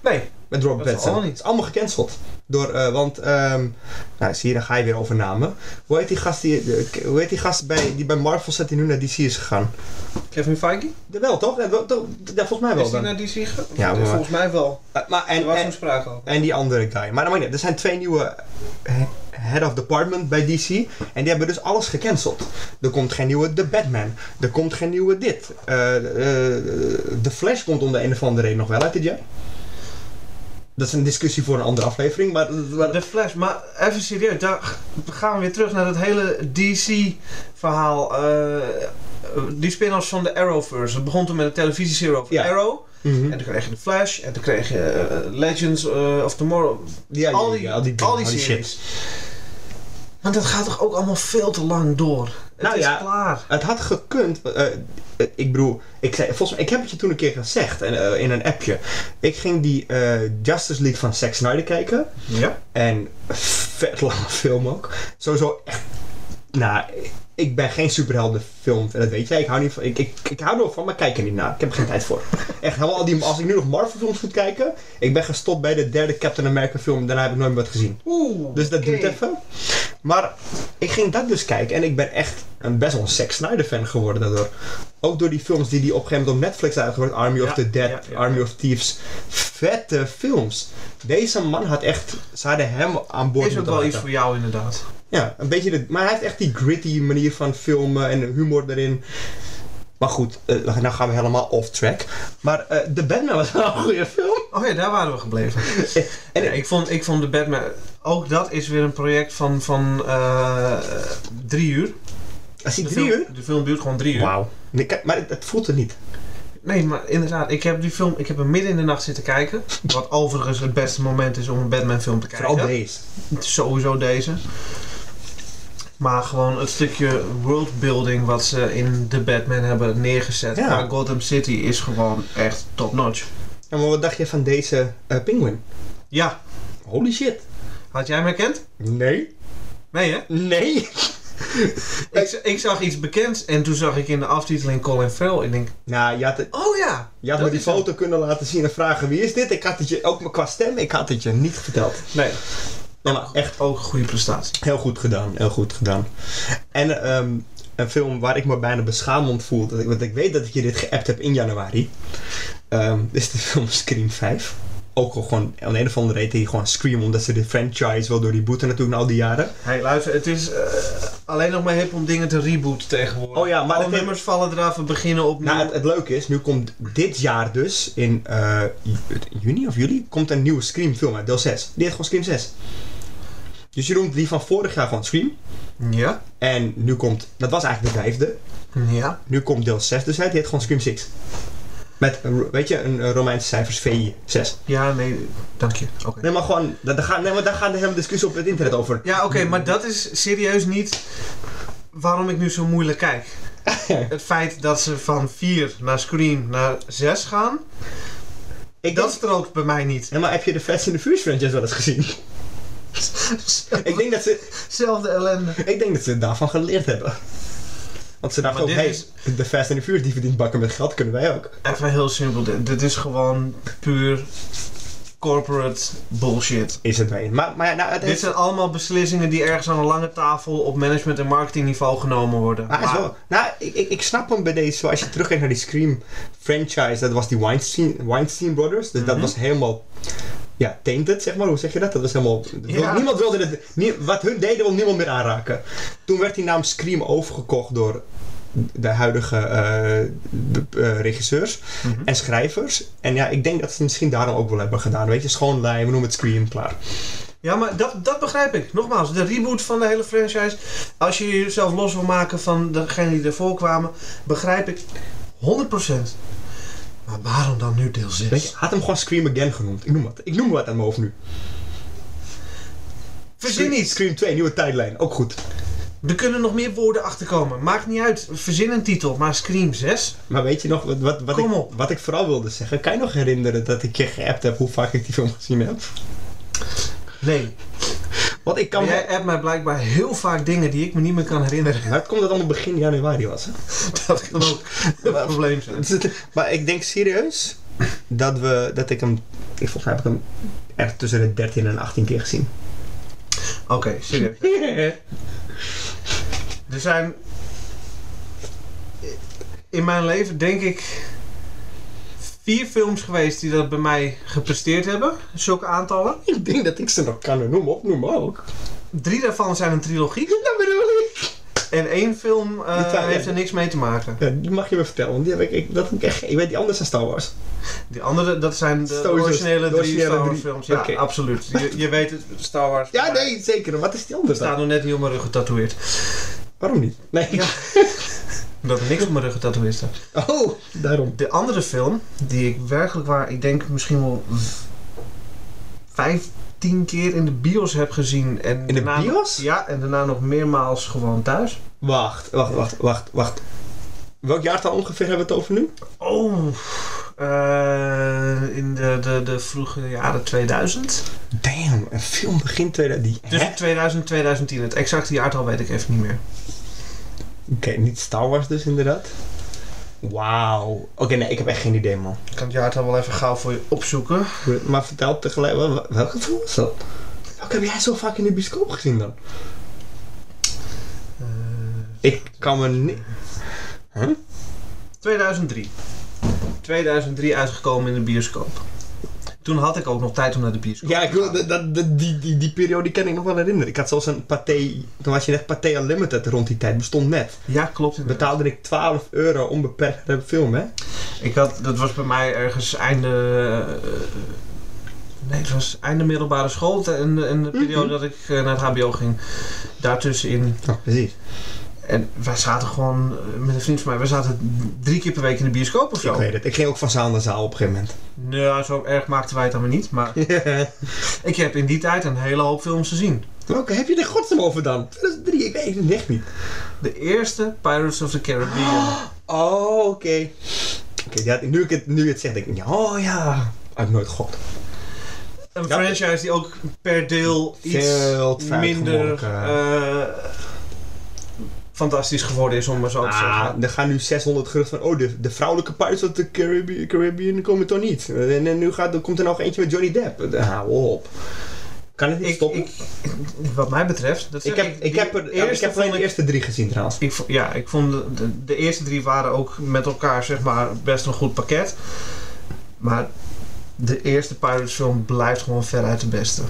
Speaker 2: Nee,
Speaker 1: Met Robert
Speaker 2: Dat is
Speaker 1: Pattinson.
Speaker 2: allemaal niet.
Speaker 1: Het is allemaal gecanceld. Door, eh, want, ehm, nou zie je, dan ga je weer over namen. Hoe heet die gast, die, de- hoe heet die gast bij, die bij Marvel zit die nu naar DC is gegaan?
Speaker 2: Kevin Feige,
Speaker 1: Ja, Wel toch? Ja, wel, toch? Ja, volgens mij wel
Speaker 2: is die
Speaker 1: dan.
Speaker 2: naar DC gegaan?
Speaker 1: Ja, maar-
Speaker 2: Volgens mij wel.
Speaker 1: Eh, maar
Speaker 2: Er
Speaker 1: en,
Speaker 2: was
Speaker 1: en,
Speaker 2: toen sprake al.
Speaker 1: en die andere guy. Maar dat maakt niet uit. er zijn twee nieuwe eh, head of department bij DC. En die hebben dus alles gecanceld. Er komt geen nieuwe The Batman. Er komt geen nieuwe dit. Eh, eh, The Flash komt om de een of andere reden nog wel uit dit jaar. Dat is een discussie voor een andere aflevering. Maar, maar
Speaker 2: De Flash, maar even serieus, daar g- gaan we weer terug naar dat hele DC-verhaal. eh, eh, die spin-offs van de Arrowverse. Het begon toen met een televisieserie over
Speaker 1: Ja.
Speaker 2: Arrow.
Speaker 1: Mhm.
Speaker 2: En toen kreeg je de Flash, en toen kreeg je eh, Legends eh, of Tomorrow.
Speaker 1: Ja,
Speaker 2: al, die, al, die
Speaker 1: dingen,
Speaker 2: series. Maar dat gaat toch ook allemaal veel te lang door. Het
Speaker 1: Nou
Speaker 2: is
Speaker 1: ja.
Speaker 2: klaar.
Speaker 1: Het had gekund. eh, eh, ik bedoel, ik, zei, volgens mij, ik heb het je toen een keer gezegd en, eh, in een appje. Ik ging die eh, Justice League van Zack Snyder kijken.
Speaker 2: Ja.
Speaker 1: En vet lange film ook. Sowieso echt. Nou, ik ben geen superheldenfilm. En dat weet jij. Ik hou, niet van, ik, ik, ik hou er wel van, maar kijk er niet naar. Ik heb er geen tijd voor. Echt, helemaal al die, als ik nu nog Marvel-films moet kijken. Ik ben gestopt bij de derde Captain America-film. Daarna heb ik nooit meer wat gezien.
Speaker 2: Oeh.
Speaker 1: Dus dat
Speaker 2: oké.
Speaker 1: duurt even. Maar ik ging dat dus kijken en ik ben echt een best wel een Zack Snyder fan geworden daardoor. Ook door die films die die op een gegeven moment op Netflix uitgebracht. Army of
Speaker 2: Ja,
Speaker 1: the Dead,
Speaker 2: ja, ja.
Speaker 1: Army of Thieves. Vette films. Deze man had echt, ze hadden hem aan boord
Speaker 2: Is ook
Speaker 1: moeten
Speaker 2: wel iets
Speaker 1: laten.
Speaker 2: voor jou, inderdaad.
Speaker 1: Ja, een beetje, de, maar hij heeft echt die gritty manier van filmen en humor erin. Maar goed, eh, nou gaan we helemaal off track. Maar eh The Batman was wel een goede film.
Speaker 2: Oh ja, daar waren we gebleven.
Speaker 1: En-
Speaker 2: Ja, ik, vond, ik vond de Batman. Ook dat is weer een project van, van eh, drie uur.
Speaker 1: Als hij
Speaker 2: De
Speaker 1: drie
Speaker 2: film-
Speaker 1: uur?
Speaker 2: De film duurt gewoon drie uur.
Speaker 1: Wauw. Nee, kijk, Maar het, het voelt er niet.
Speaker 2: Nee, maar inderdaad, ik heb die film, ik heb hem midden in de nacht zitten kijken. Wat overigens het beste moment is om een Batman film te kijken.
Speaker 1: Vooral deze.
Speaker 2: Sowieso deze. Maar gewoon het stukje worldbuilding wat ze in The Batman hebben neergezet.
Speaker 1: Ja.
Speaker 2: Qua Gotham City is gewoon echt top notch.
Speaker 1: Ja, maar wat dacht je van deze eh penguin?
Speaker 2: Ja,
Speaker 1: Holy shit.
Speaker 2: had jij hem herkend?
Speaker 1: Nee.
Speaker 2: Nee hè?
Speaker 1: Nee.
Speaker 2: Ik, z- ik zag iets bekends en toen zag ik in de aftiteling Colin Farrell. Ik denk,
Speaker 1: Nou, je had, het-
Speaker 2: oh ja!
Speaker 1: je had
Speaker 2: Dat
Speaker 1: me die
Speaker 2: is hem.
Speaker 1: foto kunnen laten zien en vragen wie is dit. Ik had het je, ook qua stem, ik had het je niet verteld.
Speaker 2: Nee,
Speaker 1: Nee, maar echt
Speaker 2: ook een goede prestatie.
Speaker 1: heel goed gedaan. Heel goed gedaan. En ehm, een film waar ik me bijna beschaamd voel, dat ik, want ik weet dat ik je dit geappt heb in januari, ehm, is de film Scream 5. Ook al gewoon, aan de een of andere reden heet hij gewoon Scream, omdat ze de franchise wel door die boete natuurlijk na al die jaren.
Speaker 2: Hey, luister, het is eh, alleen nog maar hip om dingen te rebooten tegenwoordig.
Speaker 1: Oh ja, maar
Speaker 2: Alle
Speaker 1: het-
Speaker 2: nummers vallen eraf, we beginnen opnieuw.
Speaker 1: Nou, het, het leuke is, nu komt dit jaar dus, in eh, ju- juni of juli, komt een nieuwe Scream film uit, deel 6. Die heet gewoon Scream 6. Dus je noemt die van vorig jaar gewoon Scream.
Speaker 2: Ja,
Speaker 1: En nu komt, dat was eigenlijk de vijfde,
Speaker 2: ja.
Speaker 1: nu komt deel 6 dus uit, die heet gewoon Scream 6. Met, een Ro- weet je, een eh, Romeinse cijfers VI 6.
Speaker 2: Ja, nee, dank je. Oké.
Speaker 1: Nee, maar gewoon, dat, daar gaat, nee, maar daar gaat de hele discussie op het internet over.
Speaker 2: Ja, oké, maar dat is serieus niet waarom ik nu zo moeilijk kijk. Het feit dat ze van 4 naar Scream naar 6 gaan,
Speaker 1: Ik
Speaker 2: dat
Speaker 1: dat...
Speaker 2: strookt bij mij niet.
Speaker 1: maar heb je de Fast in the Furious franchise wel eens gezien? ik, denk dat ze,
Speaker 2: Zelfde ellende.
Speaker 1: ik denk dat ze daarvan geleerd hebben. Want ze dachten
Speaker 2: Maar
Speaker 1: ook,
Speaker 2: dit
Speaker 1: hey,
Speaker 2: is-
Speaker 1: de Fast and the Furious die verdient bakken met geld, kunnen wij ook.
Speaker 2: Even heel simpel, dit, dit is gewoon puur corporate bullshit.
Speaker 1: Is het mee. Maar, maar ja, nou, het
Speaker 2: Dit
Speaker 1: heeft,
Speaker 2: zijn allemaal beslissingen die ergens aan een lange tafel op management- en marketingniveau genomen worden.
Speaker 1: maar hij is wel, nou, ik, ik, ik snap hem bij deze, zo, als je terugkijkt naar die Scream franchise, dat was die Weinstein, Weinstein Brothers, dus dat
Speaker 2: Mhm.
Speaker 1: was helemaal, ja, tainted, zeg maar, hoe zeg je dat? Dat was helemaal,
Speaker 2: Ja.
Speaker 1: niemand wilde het, nie- wat hun deden wil niemand meer aanraken. Toen werd die naam Scream overgekocht door de huidige eh, b- eh, regisseurs
Speaker 2: Mhm.
Speaker 1: en schrijvers. En ja, ik denk dat ze het misschien daarom ook wel hebben gedaan. Weet je, schoonlijn, we noemen het Scream, klaar.
Speaker 2: Ja, maar dat, dat begrijp ik. Nogmaals, de reboot van de hele franchise. Als je jezelf los wil maken van degenen die ervoor kwamen, begrijp ik 100%. Maar waarom dan nu deel 6?
Speaker 1: Weet je, had hem gewoon Scream Again genoemd. Ik noem wat. Ik noem wat aan mijn hoofd nu.
Speaker 2: Verzin iets.
Speaker 1: Scream 2, nieuwe tijdlijn. Ook goed.
Speaker 2: Er kunnen nog meer woorden achterkomen. Maakt niet uit. Verzin een titel. Maar Scream 6?
Speaker 1: Maar weet je nog, wat, wat, wat,
Speaker 2: Kom
Speaker 1: ik,
Speaker 2: op.
Speaker 1: wat ik vooral wilde zeggen. Kan je nog herinneren dat ik je geappt heb hoe vaak ik die film gezien heb?
Speaker 2: Nee.
Speaker 1: Want ik kan...
Speaker 2: Jij appt mij blijkbaar heel vaak dingen die ik me niet meer kan herinneren.
Speaker 1: Maar het komt dat het allemaal begin januari was. Hè?
Speaker 2: Dat kan ook een probleem zijn.
Speaker 1: Dus maar ik denk serieus dat, we, dat ik hem... Ik, volgens mij heb ik hem echt tussen de 13 en 18 keer gezien.
Speaker 2: Oké, serieus. Er zijn in mijn leven denk ik vier films geweest die dat bij mij gepresteerd hebben. Zulke aantallen.
Speaker 1: ik denk dat ik ze nog kan noemen, opnoemen ook.
Speaker 2: Drie daarvan zijn een trilogie.
Speaker 1: Dat bedoel ik.
Speaker 2: En één film eh,
Speaker 1: Die twee, ja.
Speaker 2: heeft er niks mee te maken.
Speaker 1: Ja, die mag je me vertellen, want die heb ik, ik, dat heb ik echt... Ik weet die anders dan Star Wars.
Speaker 2: Die andere, dat zijn de
Speaker 1: Stoisers,
Speaker 2: originele
Speaker 1: de
Speaker 2: drie
Speaker 1: originele
Speaker 2: Star Wars
Speaker 1: drie.
Speaker 2: films. Ja,
Speaker 1: Oké.
Speaker 2: absoluut. Je, je weet het, Star Wars.
Speaker 1: Ja, nee, zeker. Wat is die
Speaker 2: Er
Speaker 1: anders
Speaker 2: staat
Speaker 1: dan?
Speaker 2: nog net niet op mijn rug getatoeëerd.
Speaker 1: Waarom niet? Nee.
Speaker 2: Ja. Dat er niks op mijn rug getatoeëerd staat.
Speaker 1: Oh, daarom.
Speaker 2: De andere film, die ik werkelijk waar, ik denk misschien wel v- vijftien keer in de bios heb gezien. En
Speaker 1: In de
Speaker 2: daarna nog-
Speaker 1: bios?
Speaker 2: ja, en daarna nog meermaals gewoon thuis.
Speaker 1: Wacht, wacht, wacht, wacht, wacht. Welk jaartal ongeveer hebben we het over nu?
Speaker 2: Oh, eh, in de, de, de vroege jaren 2000.
Speaker 1: Damn, een film begint tweede... Die, hè?
Speaker 2: Tussen 2000 en 2010. Het exacte jaartal weet ik even niet meer.
Speaker 1: Oké, niet Star Wars dus inderdaad. Wauw. Oké, nee, ik heb echt geen idee, man.
Speaker 2: Ik kan het jaartal wel even gauw voor je opzoeken.
Speaker 1: Maar vertel tegelijk, wel- wel- welke film was dat? Welke heb jij zo vaak in de bioscoop gezien dan?
Speaker 2: Eh,
Speaker 1: Ik kan me niet...
Speaker 2: 2003. 2003 uitgekomen in de bioscoop. Toen had ik ook nog tijd om naar de bioscoop
Speaker 1: Ja, ik wil,
Speaker 2: te gaan.
Speaker 1: dat, dat- dat- die, die, die periode kan ik nog wel herinneren. Ik had zelfs een Pathé... Toen was je net Pathé Unlimited rond die tijd. Bestond net.
Speaker 2: Ja, klopt. inderdaad.
Speaker 1: Betaalde ik 12 euro onbeperkt naar de film, hè?
Speaker 2: Ik had, dat was bij mij ergens einde. eh, nee, het was einde middelbare school te- en, en de periode
Speaker 1: Mhm.
Speaker 2: dat ik eh, naar het HBO ging. Daartussenin.
Speaker 1: Oh, precies.
Speaker 2: En wij zaten gewoon, eh, met een vriend van mij, we zaten drie keer per week in de bioscoop of
Speaker 1: Ik
Speaker 2: zo.
Speaker 1: weet het. Ik ging ook van zaal naar zaal op een gegeven
Speaker 2: Nou, zo erg maakten wij het dan weer niet. Maar
Speaker 1: moment.
Speaker 2: ik heb in die tijd een hele hoop films gezien.
Speaker 1: Welke heb je er godsnaam over dan? 2003, ik weet het echt niet.
Speaker 2: De eerste Pirates of the Caribbean.
Speaker 1: Oh, oké. Oké, ja, nu, ik het, nu je het zeg, denk ik, ja, oh ja. Had ik nooit god.
Speaker 2: Een
Speaker 1: Ja.
Speaker 2: franchise die ook per deel
Speaker 1: Veel
Speaker 2: iets
Speaker 1: te vaak
Speaker 2: minder
Speaker 1: gemolken.
Speaker 2: eh, fantastisch geworden is, om maar zo te zeggen.
Speaker 1: Ah, er gaan nu 600 geruchten van, oh, de, de vrouwelijke Pirates of the Caribbean, Caribbean komen toch niet? En, en nu gaat, er komt er nog eentje met Johnny Depp. Eh, Hou op. Kan het niet
Speaker 2: Ik,
Speaker 1: stoppen?
Speaker 2: ik,
Speaker 1: Ik,
Speaker 2: wat mij betreft, dat zeg
Speaker 1: heb, ik,
Speaker 2: die
Speaker 1: heb er, ja, ik
Speaker 2: eerste
Speaker 1: heb alleen
Speaker 2: vond
Speaker 1: de eerste drie gezien trouwens.
Speaker 2: ik vo- ja, ik vond de, de, de eerste drie waren ook met elkaar zeg maar best een goed pakket. Maar de eerste Pirates film blijft gewoon veruit de beste.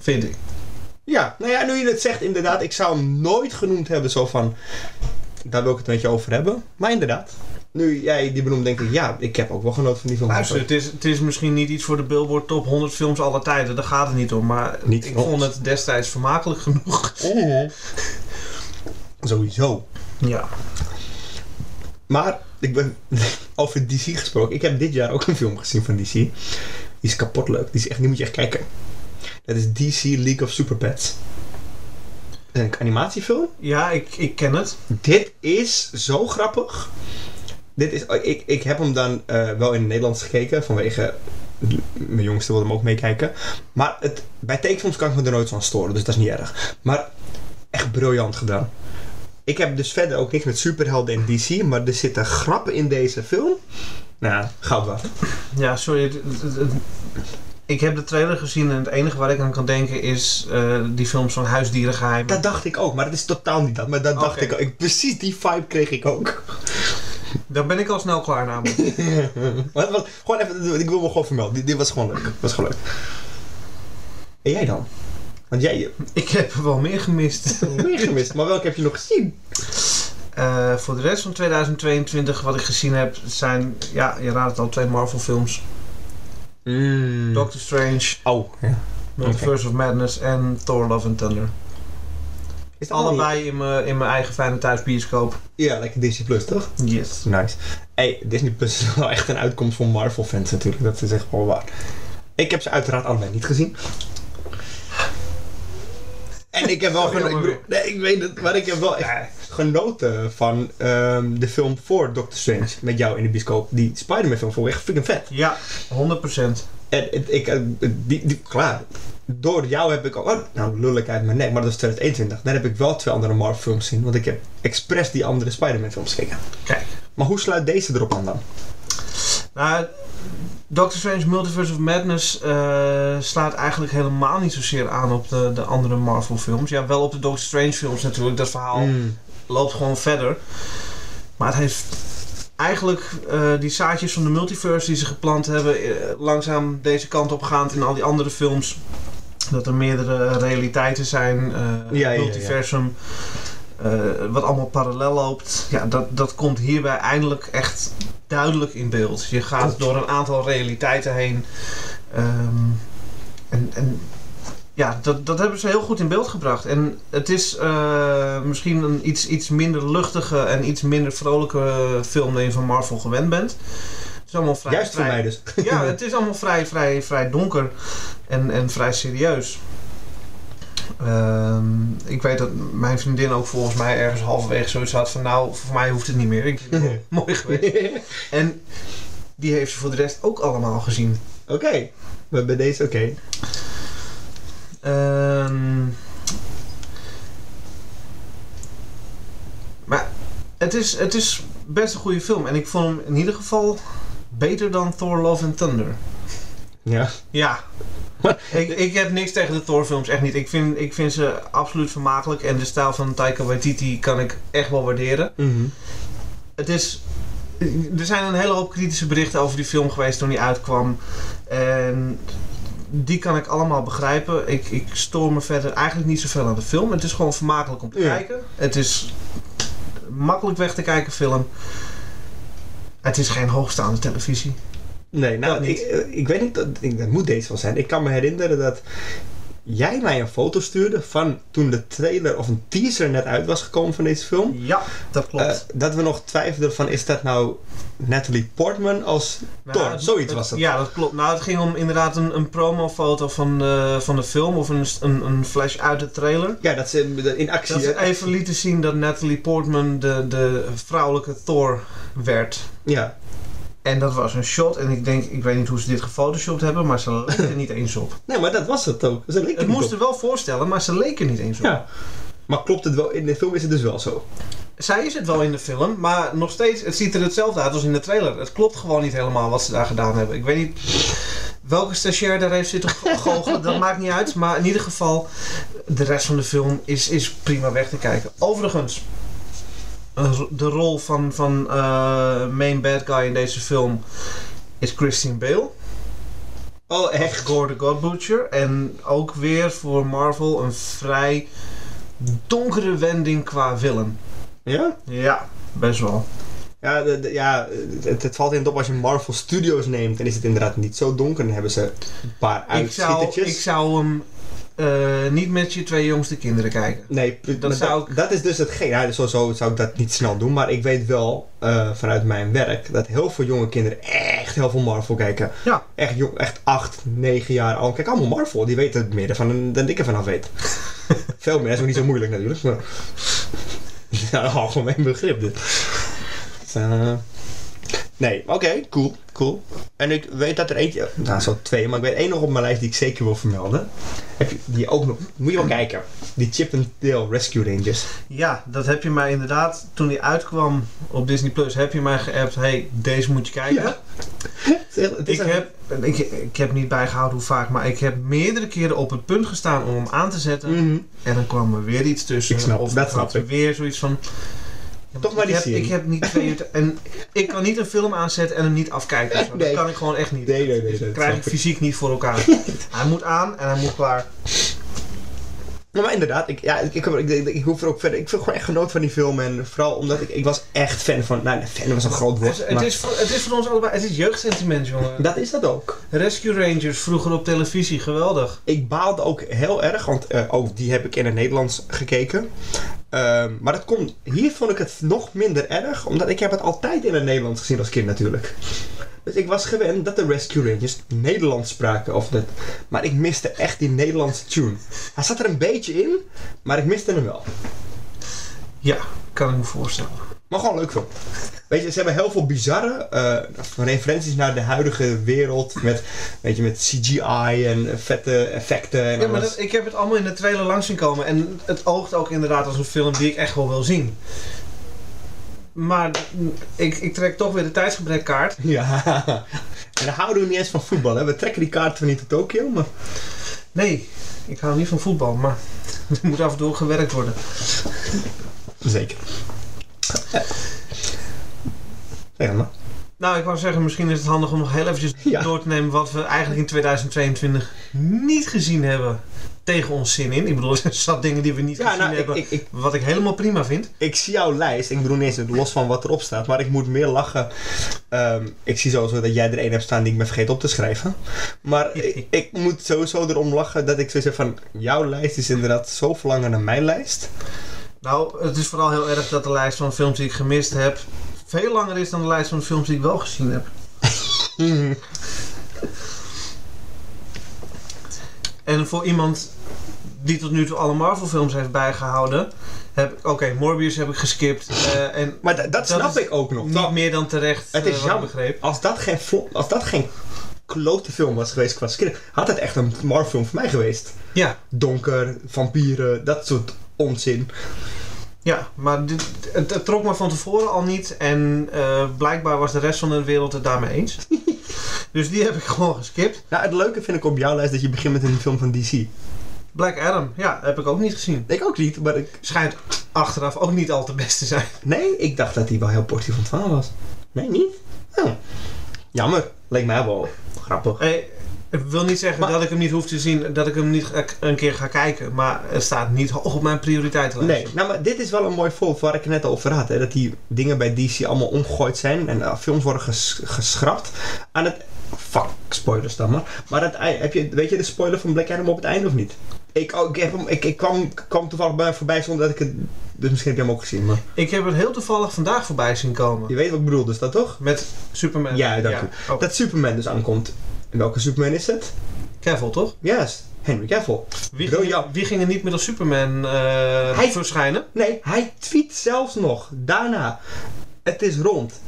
Speaker 2: Vind ik.
Speaker 1: Ja, nou ja, nu je het zegt, inderdaad, ik zou hem nooit genoemd hebben zo van. Daar wil ik het met je over hebben. Maar inderdaad, nu jij die benoemt, denk ik, ja, ik heb ook wel genoten van die film.
Speaker 2: Luister, Dus het is, het is misschien niet iets voor de Billboard Top 100 films aller tijden. Daar gaat het niet om. Maar
Speaker 1: Niet
Speaker 2: ik
Speaker 1: klopt.
Speaker 2: vond het destijds vermakelijk genoeg.
Speaker 1: Oh. Sowieso.
Speaker 2: Ja.
Speaker 1: Maar, ik ben over DC gesproken. Ik heb dit jaar ook een film gezien van DC. Die is kapot leuk. Die, is echt, die moet je echt kijken. Dat is DC League of Superpets. Een animatiefilm.
Speaker 2: Ja, ik, ik ken het.
Speaker 1: Dit is zo grappig. Dit is, oh, ik, ik heb hem dan eh, wel in het Nederlands gekeken, vanwege mijn jongste wilde hem ook meekijken. Maar het, bij tekenfilms kan ik me er nooit van storen, dus dat is niet erg. Maar echt briljant gedaan. Ik heb dus verder ook niks met superhelden en DC, maar er zitten grappen in deze film. Nou, goud waard.
Speaker 2: Ja, sorry. het- het- het- het- ik heb de trailer gezien en het enige waar ik aan kan denken is eh, die films van huisdierengeheimen.
Speaker 1: Dat dacht ik ook, maar het is totaal niet dat. Maar dat dacht
Speaker 2: Oké.
Speaker 1: ik ook. Ik- Precies die vibe kreeg ik ook.
Speaker 2: Daar ben ik al snel klaar namelijk.
Speaker 1: Maar het was gewoon even, ik wil me gewoon vermelden. Dit, dit was gewoon leuk. Was gewoon leuk. En jij dan? Want jij hebt
Speaker 2: ik heb er wel meer gemist.
Speaker 1: meer gemist, maar welke heb je nog gezien?
Speaker 2: Eh, Eh, voor de rest van 2022, wat ik gezien heb, zijn, ja, je raadt het al, twee Marvel-films:
Speaker 1: Mm.
Speaker 2: Doctor Strange,
Speaker 1: Oh, ja.
Speaker 2: Multiverse of Madness en Thor Love and Thunder.
Speaker 1: Is dat allemaal-
Speaker 2: Allebei in mijn in mijn eigen fijne thuisbioscoop.
Speaker 1: Ja, lekker Disney Plus, toch?
Speaker 2: Yes.
Speaker 1: Nice. Hey, Disney Plus is wel echt een uitkomst voor Marvel-fans natuurlijk. Dat is echt wel waar. Ik heb ze uiteraard allebei niet gezien. En ik heb wel
Speaker 2: Sorry,
Speaker 1: genoten. Ik,
Speaker 2: jongen.
Speaker 1: bedoel- nee, ik weet het, maar ik heb wel echt genoten van ehm, de film voor Doctor Strange met jou in de bioscoop. Die Spider-Man film vond ik echt freaking vet.
Speaker 2: Ja, 100%.
Speaker 1: En het- ik, eh, die, die, klaar. Door jou heb ik al, oh, nou lul ik uit mijn nek, maar dat is 2021. Dan heb ik wel twee andere Marvel films gezien, want ik heb expres die andere Spider-Man films gekeken.
Speaker 2: Kijk.
Speaker 1: Maar hoe sluit deze erop aan dan?
Speaker 2: Nou, Doctor Strange Multiverse of Madness eh, slaat eigenlijk helemaal niet zozeer aan op de, de andere Marvel films. Ja, wel op de Doctor Strange films natuurlijk. Dat verhaal
Speaker 1: Mm.
Speaker 2: loopt gewoon verder. Maar het heeft eigenlijk eh, die zaadjes van de multiverse die ze geplant hebben... eh, langzaam deze kant op gaand in al die andere films. Dat er meerdere realiteiten zijn. eh
Speaker 1: Ja, ja, ja.
Speaker 2: multiversum. eh, wat allemaal parallel loopt. Ja, dat, dat komt hierbij eindelijk echt duidelijk in beeld. Je gaat
Speaker 1: Klopt.
Speaker 2: door een aantal realiteiten heen. Ehm, en, en ja, dat, dat hebben ze heel goed in beeld gebracht. En het is eh, misschien een iets, iets minder luchtige en iets minder vrolijke film dan je van Marvel gewend bent. Het is allemaal vrij,
Speaker 1: Juist voor
Speaker 2: vrij-
Speaker 1: mij dus.
Speaker 2: Ja, het is allemaal vrij, vrij, vrij donker en, en vrij serieus. Ehm, ik weet dat mijn vriendin ook volgens mij ergens halverwege zoiets had van... nou, voor mij hoeft het niet meer. Ik vind het wel mooi geweest. En die heeft ze voor de rest ook allemaal gezien.
Speaker 1: Oké, maar bij deze oké.
Speaker 2: Ehm. maar het is, het is best een goede film. En ik vond hem in ieder geval beter dan Thor Love and Thunder.
Speaker 1: Ja.
Speaker 2: Ja. ik, ik heb niks tegen de Thor films, echt niet. Ik vind, ik vind ze absoluut vermakelijk. En de stijl van Taika Waititi kan ik echt wel waarderen. Het is. Er zijn een hele hoop kritische berichten over die film geweest toen die uitkwam. En die kan ik allemaal begrijpen. Ik, ik stoor me verder eigenlijk niet zoveel aan de film. Het is gewoon vermakelijk om te
Speaker 1: Ja.
Speaker 2: kijken. Het is makkelijk weg te kijken film. Het is geen hoogstaande televisie.
Speaker 1: Nee, nou,
Speaker 2: Dat niet.
Speaker 1: Ik, eh, ik weet niet, dat, ik, dat moet deze wel zijn. Ik kan me herinneren dat jij mij een foto stuurde van toen de trailer of een teaser net uit was gekomen van deze film.
Speaker 2: Ja, dat klopt.
Speaker 1: Eh, dat we nog twijfelden van is dat nou Natalie Portman als...
Speaker 2: Nou,
Speaker 1: Thor,
Speaker 2: het-
Speaker 1: zoiets
Speaker 2: het-
Speaker 1: was dat.
Speaker 2: Ja, dat klopt. Nou, het ging om inderdaad een, een promofoto van, de- van de film of een, een, een flash uit de trailer.
Speaker 1: Ja, dat ze in actie...
Speaker 2: Dat ze
Speaker 1: hè?
Speaker 2: even lieten zien dat Natalie Portman de, de vrouwelijke Thor werd.
Speaker 1: Ja.
Speaker 2: En dat was een shot. En ik denk, ik weet niet hoe ze dit gefotoshopt hebben, maar ze leken er niet eens op.
Speaker 1: Nee, maar dat was het ook. Ze leken
Speaker 2: Het
Speaker 1: niet
Speaker 2: moest
Speaker 1: op.
Speaker 2: er wel voorstellen, maar ze leken er niet eens op.
Speaker 1: Ja. Maar klopt het wel? In de film is het dus wel zo.
Speaker 2: Zij is het wel in de film, maar nog steeds, het ziet er hetzelfde uit als in de trailer. Het klopt gewoon niet helemaal wat ze daar gedaan hebben. Ik weet niet welke stagiair daar heeft zitten goochelen, dat maakt niet uit. Maar in ieder geval, de rest van de film is, is prima weg te kijken. Overigens, een ro- de rol van, van eh, main bad guy in deze film is Christian Bale.
Speaker 1: Oh,
Speaker 2: Echt
Speaker 1: echt?
Speaker 2: Gore the God Butcher. En ook weer voor Marvel een vrij donkere wending qua villain.
Speaker 1: Ja?
Speaker 2: Ja, best wel.
Speaker 1: Ja, de- de- ja het, het valt in het op als je Marvel Studios neemt en is het inderdaad niet zo donker. Dan hebben ze een paar
Speaker 2: Ik zou,
Speaker 1: uitschietertjes.
Speaker 2: ik zou hem eh, niet met je twee jongste kinderen kijken.
Speaker 1: Nee, pu-
Speaker 2: dat
Speaker 1: maar
Speaker 2: zou
Speaker 1: dat,
Speaker 2: ik-
Speaker 1: dat is dus hetgeen. Ja, sowieso zou ik dat niet snel doen, maar ik weet wel eh, vanuit mijn werk dat heel veel jonge kinderen echt heel veel Marvel kijken.
Speaker 2: Ja.
Speaker 1: Echt, jong, echt 8, 9 jaar al. Kijk, allemaal Marvel. Die weten het meer ervan dan ik ervan af weet. veel meer, dat is ook niet zo moeilijk natuurlijk. Maar... ja, algemeen begrip dit. Dus, eh, Nee, oké, cool, cool. En ik weet dat er eentje, nou zo twee, maar ik weet één nog op mijn lijst die ik zeker wil vermelden. Heb je die ook nog, moet je wel kijken. Die Chip and Dale Rescue Rangers.
Speaker 2: Ja, dat heb je mij inderdaad, toen die uitkwam op Disney Plus, heb je mij geappt. hey, deze moet je kijken.
Speaker 1: Ja, Het is echt- het is
Speaker 2: ik,
Speaker 1: echt-
Speaker 2: heb, ik, ik heb niet bijgehouden hoe vaak, maar ik heb meerdere keren op het punt gestaan om hem aan te zetten.
Speaker 1: Mhm.
Speaker 2: En dan kwam er weer iets tussen.
Speaker 1: Ik snap,
Speaker 2: of
Speaker 1: dat
Speaker 2: er
Speaker 1: snap
Speaker 2: had er
Speaker 1: ik.
Speaker 2: weer zoiets van. ja,
Speaker 1: Toch maar die
Speaker 2: ik heb,
Speaker 1: serie.
Speaker 2: ik heb niet twee uur. te- en ik kan niet een film aanzetten en hem niet afkijken. of zo.
Speaker 1: Nee.
Speaker 2: Dat kan ik gewoon echt niet.
Speaker 1: Nee, nee, nee.
Speaker 2: Dus
Speaker 1: dat
Speaker 2: dat krijg ik
Speaker 1: snap ik.
Speaker 2: fysiek niet voor elkaar. hij moet aan en hij moet klaar.
Speaker 1: Nou, Maar, maar inderdaad, ik, ja, ik, ik, ik, ik, ik hoef er ook verder. Ik heb gewoon echt genoten van die film. En vooral omdat ik, ik was echt fan van. Nou, fan was een groot
Speaker 2: Het,
Speaker 1: woord.
Speaker 2: is-
Speaker 1: maar
Speaker 2: het, is voor, het is voor ons allebei, het is jeugdsentiment, jongen.
Speaker 1: dat is dat ook.
Speaker 2: Rescue Rangers vroeger op televisie, geweldig.
Speaker 1: Ik baalde ook heel erg, want eh, ook die heb ik in het Nederlands gekeken. Ehm, maar dat komt, hier vond ik het nog minder erg, omdat ik heb het altijd in het Nederlands gezien als kind natuurlijk. Dus ik was gewend dat de Rescue Rangers Nederlands spraken. Of dat, maar ik miste echt die Nederlandse tune. Hij zat er een beetje in, maar ik miste hem wel.
Speaker 2: Ja, kan ik me voorstellen.
Speaker 1: Maar gewoon leuk film. Weet je, ze hebben heel veel bizarre eh, referenties naar de huidige wereld. Met, weet je, met CGI en vette effecten en
Speaker 2: Ja, maar
Speaker 1: alles.
Speaker 2: dat, ik heb het allemaal in de trailer langs zien komen. En het oogt ook inderdaad als een film die ik echt wel wil zien. Maar mm, ik, ik trek toch weer de tijdsgebrekkaart.
Speaker 1: Ja, en dan houden we niet eens van voetbal. Hè? We trekken die kaarten van niet uit Tokio, maar
Speaker 2: Nee, ik hou niet van voetbal, maar er moet af en toe ook gewerkt worden.
Speaker 1: zeker. Eh. Zeg het maar.
Speaker 2: Nou, ik wou zeggen, misschien is het handig om nog heel eventjes
Speaker 1: Ja.
Speaker 2: door te nemen wat we eigenlijk in 2022 niet gezien hebben. Tegen ons zin in. Ik bedoel, er zat dingen die we niet
Speaker 1: Ja,
Speaker 2: gezien
Speaker 1: nou, ik,
Speaker 2: hebben.
Speaker 1: ik, ik,
Speaker 2: Wat ik helemaal prima vind.
Speaker 1: ik zie jouw lijst. Ik bedoel niet eens los van wat erop staat, maar ik moet meer lachen. Ehm, ik zie sowieso dat jij er één hebt staan die ik ben vergeten op te schrijven. Maar ik, ik moet sowieso erom lachen dat ik zoiets heb van... Jouw lijst is inderdaad zo langer dan mijn lijst.
Speaker 2: Nou, het is vooral heel erg dat de lijst van films die ik gemist heb... veel langer is dan de lijst van films die ik wel gezien heb. Mhm. En voor iemand die tot nu toe alle Marvel films heeft bijgehouden... heb ik, oké, Morbius heb ik geskipt. eh, en
Speaker 1: Maar da- dat
Speaker 2: Dat
Speaker 1: snap
Speaker 2: is
Speaker 1: ik ook nog.
Speaker 2: niet meer dan terecht,
Speaker 1: Het is
Speaker 2: eh, wat ik
Speaker 1: jammer.
Speaker 2: begreep.
Speaker 1: Als dat geen, flo- als dat geen klote film was geweest qua script, had het echt een Marvel film voor mij geweest.
Speaker 2: Ja,
Speaker 1: Donker, vampieren, dat soort onzin.
Speaker 2: Ja, maar dit, het, het trok me van tevoren al niet. En eh, blijkbaar was de rest van de wereld het daarmee eens. dus die heb ik gewoon geskipt.
Speaker 1: Nou, het leuke vind ik op jouw lijst dat je begint met een film van DC.
Speaker 2: Black Adam, ja, heb ik ook niet gezien.
Speaker 1: Ik ook niet, maar ik...
Speaker 2: Schijnt achteraf ook niet al te best te zijn.
Speaker 1: Nee, ik dacht dat hij wel heel positief ontvangen was. Nee, niet? Oh. Jammer. Leek mij wel grappig.
Speaker 2: Hey, ik wil niet zeggen
Speaker 1: Maar-
Speaker 2: dat ik hem niet hoef te zien, dat ik hem niet ga- een keer ga kijken. Maar het staat niet hoog op mijn prioriteitenlijst.
Speaker 1: Nee, nou, maar dit is wel een mooi voorbeeld waar ik het net over had. Hè? Dat die dingen bij DC allemaal omgegooid zijn en eh, films worden ges- geschrapt. Aan het. Fuck, spoilers dan maar. Maar het, ei- heb je, weet je de spoiler van Black Adam op het einde of niet? Ik, oh, ik, heb hem, ik, ik kwam, kwam toevallig bij voorbij zonder dat ik het. Dus misschien heb je hem ook gezien, maar
Speaker 2: Ik heb het heel toevallig vandaag voorbij zien komen.
Speaker 1: je weet wat ik bedoel, dus dat toch?
Speaker 2: Met Superman.
Speaker 1: Ja, dank u.
Speaker 2: Oh,
Speaker 1: Dat Superman dus aankomt. En welke Superman is het?
Speaker 2: Cavill, toch?
Speaker 1: Yes, Henry Cavill.
Speaker 2: Wie
Speaker 1: Bro,
Speaker 2: ging,
Speaker 1: ja.
Speaker 2: wie ging er niet met als Superman eh,
Speaker 1: Hij-
Speaker 2: verschijnen?
Speaker 1: Nee, hij tweet zelfs nog. Daarna. Het is rond.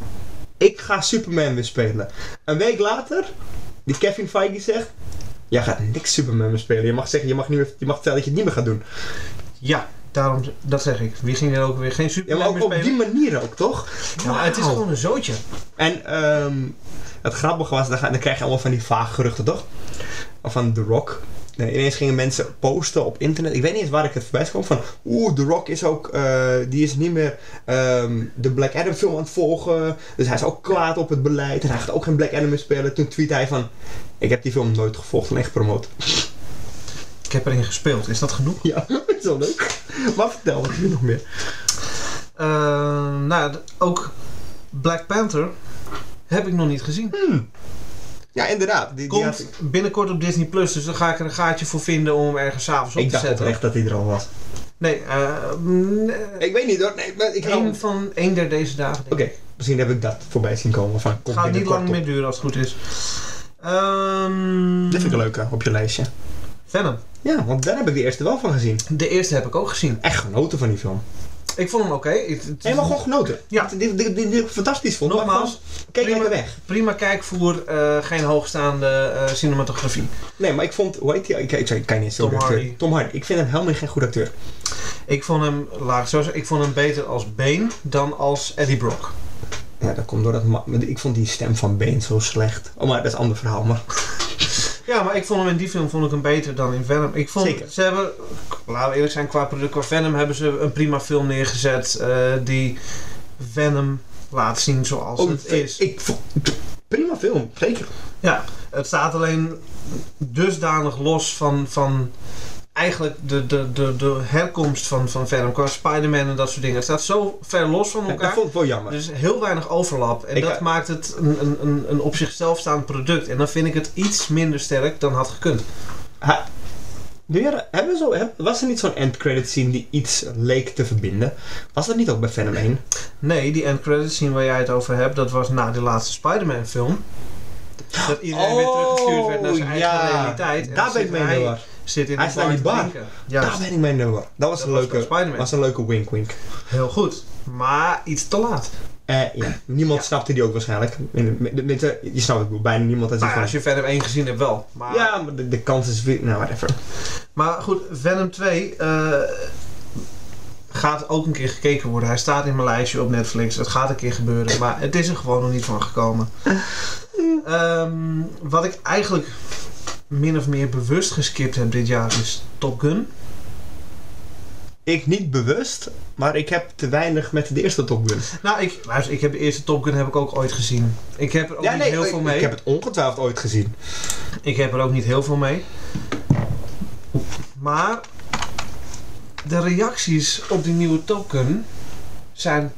Speaker 1: Ik ga Superman weer spelen. Een week later, die Kevin Feige zegt... Jij gaat niks Superman meer spelen. Je mag zeggen, je mag, niet meer, je mag vertellen dat je het niet meer gaat doen.
Speaker 2: Ja, daarom, dat zeg ik. Wie ging er ook weer geen
Speaker 1: Ja, maar
Speaker 2: Superman
Speaker 1: ook
Speaker 2: meer
Speaker 1: op die
Speaker 2: spelen?
Speaker 1: manier ook, toch?
Speaker 2: Ja, maar het is
Speaker 1: Wauw.
Speaker 2: gewoon een zootje.
Speaker 1: En ehm, het grappige was, dan, ga- dan krijg je allemaal van die vage geruchten, toch? Of van The Rock. Nee, ineens gingen mensen posten op internet. Ik weet niet eens waar ik het voorbij kwam van... Oeh, The Rock is ook... eh, die is niet meer ehm, de Black Adam film aan het volgen. Dus hij is ook kwaad op het beleid. En hij gaat ook geen Black Adam meer spelen. Toen tweette hij van... Ik heb die film nooit gevolgd en echt promoot.
Speaker 2: Ik heb erin gespeeld, is dat genoeg?
Speaker 1: Ja, zo leuk. Maar vertel, wat heb je nog meer?
Speaker 2: Eh, nou, d- ook Black Panther heb ik nog niet gezien.
Speaker 1: Ja, inderdaad. Die, die Hm, had
Speaker 2: Komt
Speaker 1: ik-
Speaker 2: binnenkort op Disney Plus, dus daar ga ik er een gaatje voor vinden om hem ergens s'avonds op
Speaker 1: ik
Speaker 2: te
Speaker 1: dacht
Speaker 2: zetten.
Speaker 1: oprecht dat hij er al was.
Speaker 2: Nee, eh, mm, eh,
Speaker 1: Ik weet niet hoor. Nee, maar ik hou-
Speaker 2: één van één der deze dagen. Denk ik.
Speaker 1: Oké, misschien heb ik dat voorbij zien komen. Van, komt
Speaker 2: Het gaat niet
Speaker 1: binnenkort op.
Speaker 2: lang meer duren als het goed is. Ehm,
Speaker 1: Dit vind ik een leuke op je lijstje.
Speaker 2: Venom.
Speaker 1: Ja, want daar heb ik de eerste wel van gezien.
Speaker 2: De eerste heb ik ook gezien.
Speaker 1: Echt genoten van die film.
Speaker 2: Ik vond hem oké. Het- het-
Speaker 1: Helemaal gewoon genoten.
Speaker 2: Ja.
Speaker 1: Die, die, die, die, die ik fantastisch vond.
Speaker 2: Nogmaals,
Speaker 1: maar gewoon keek
Speaker 2: prima.
Speaker 1: lekker weg.
Speaker 2: Prima kijkvoer, eh, geen hoogstaande eh, cinematografie.
Speaker 1: Nee, maar ik vond... Hoe heet die? Ik, ik, ik kan niet eens
Speaker 2: Tom
Speaker 1: zo goed acteur.
Speaker 2: Hardy.
Speaker 1: Tom Hardy. Ik vind hem helemaal geen goed acteur.
Speaker 2: Ik vond hem, laat ik het zo zeggen, ik vond hem beter als Bane dan als Eddie Brock.
Speaker 1: Ja, dat komt door dat... ma- maar Ik vond die stem van Bane zo slecht. Oh, maar dat is een ander verhaal. Maar
Speaker 2: Ja, maar ik vond hem in die film vond ik hem beter dan in Venom. Ik vond,
Speaker 1: Zeker.
Speaker 2: ze hebben, laten we eerlijk zijn, qua product, qua Venom hebben ze een prima film neergezet eh, die Venom laat zien zoals
Speaker 1: Oh,
Speaker 2: het is.
Speaker 1: Ik vond... Prima film. Zeker.
Speaker 2: Ja, het staat alleen dusdanig los van, van eigenlijk de, de, de, de herkomst van, van Venom qua Spider-Man en dat soort dingen. Het staat zo ver los van
Speaker 1: Ja, dat
Speaker 2: elkaar.
Speaker 1: vond ik wel jammer.
Speaker 2: Er is Dus heel weinig overlap. En
Speaker 1: Ik-
Speaker 2: dat maakt het een, een, een, een op zichzelf staand product. En dan vind ik het iets minder sterk dan had gekund.
Speaker 1: Ha- Doe jij dat- hebben we zo, heb- was er niet zo'n end credit scene die iets leek te verbinden? Was dat niet ook bij Venom 1?
Speaker 2: Nee, die end credits scene waar jij het over hebt, dat was na die laatste Spider-Man film. Dat iedereen weer teruggestuurd werd naar zijn eigen realiteit. En
Speaker 1: Oh, Daar
Speaker 2: dan
Speaker 1: ben ik
Speaker 2: zit
Speaker 1: mee
Speaker 2: hij-
Speaker 1: in de war.
Speaker 2: Zit in
Speaker 1: Hij
Speaker 2: de
Speaker 1: staat in die
Speaker 2: te
Speaker 1: bar.
Speaker 2: drinken.
Speaker 1: Daar
Speaker 2: Juist,
Speaker 1: ben ik mee in de war. Dat was
Speaker 2: dat
Speaker 1: een
Speaker 2: was bij
Speaker 1: leuke,
Speaker 2: Spider-Man.
Speaker 1: was een leuke wink-wink.
Speaker 2: Heel goed. Maar iets te laat.
Speaker 1: Eh, ja. Niemand
Speaker 2: Ja.
Speaker 1: snapte die ook waarschijnlijk. eh, Tenminste, Je snapt het, bijna niemand had
Speaker 2: Nou
Speaker 1: die
Speaker 2: ja, als
Speaker 1: van...
Speaker 2: je verder één gezien hebt wel. Maar,
Speaker 1: Ja, maar de, de kans is weer... Nou, whatever.
Speaker 2: maar goed, Venom 2 eh, gaat ook een keer gekeken worden. Hij staat in mijn lijstje op Netflix. Het gaat een keer gebeuren. Maar het is er gewoon nog niet van gekomen. Ehm, wat ik eigenlijk min of meer bewust geskipt heb dit jaar is Top Gun.
Speaker 1: Ik niet bewust, maar ik heb te weinig met de eerste Top Gun.
Speaker 2: Nou, ik, luister, ik heb de eerste Top Gun heb ik ook ooit gezien. Ik heb er ook niet heel
Speaker 1: ik,
Speaker 2: veel mee.
Speaker 1: ik heb het ongetwijfeld ooit gezien.
Speaker 2: Ik heb er ook niet heel veel mee. Maar de reacties op die nieuwe token zijn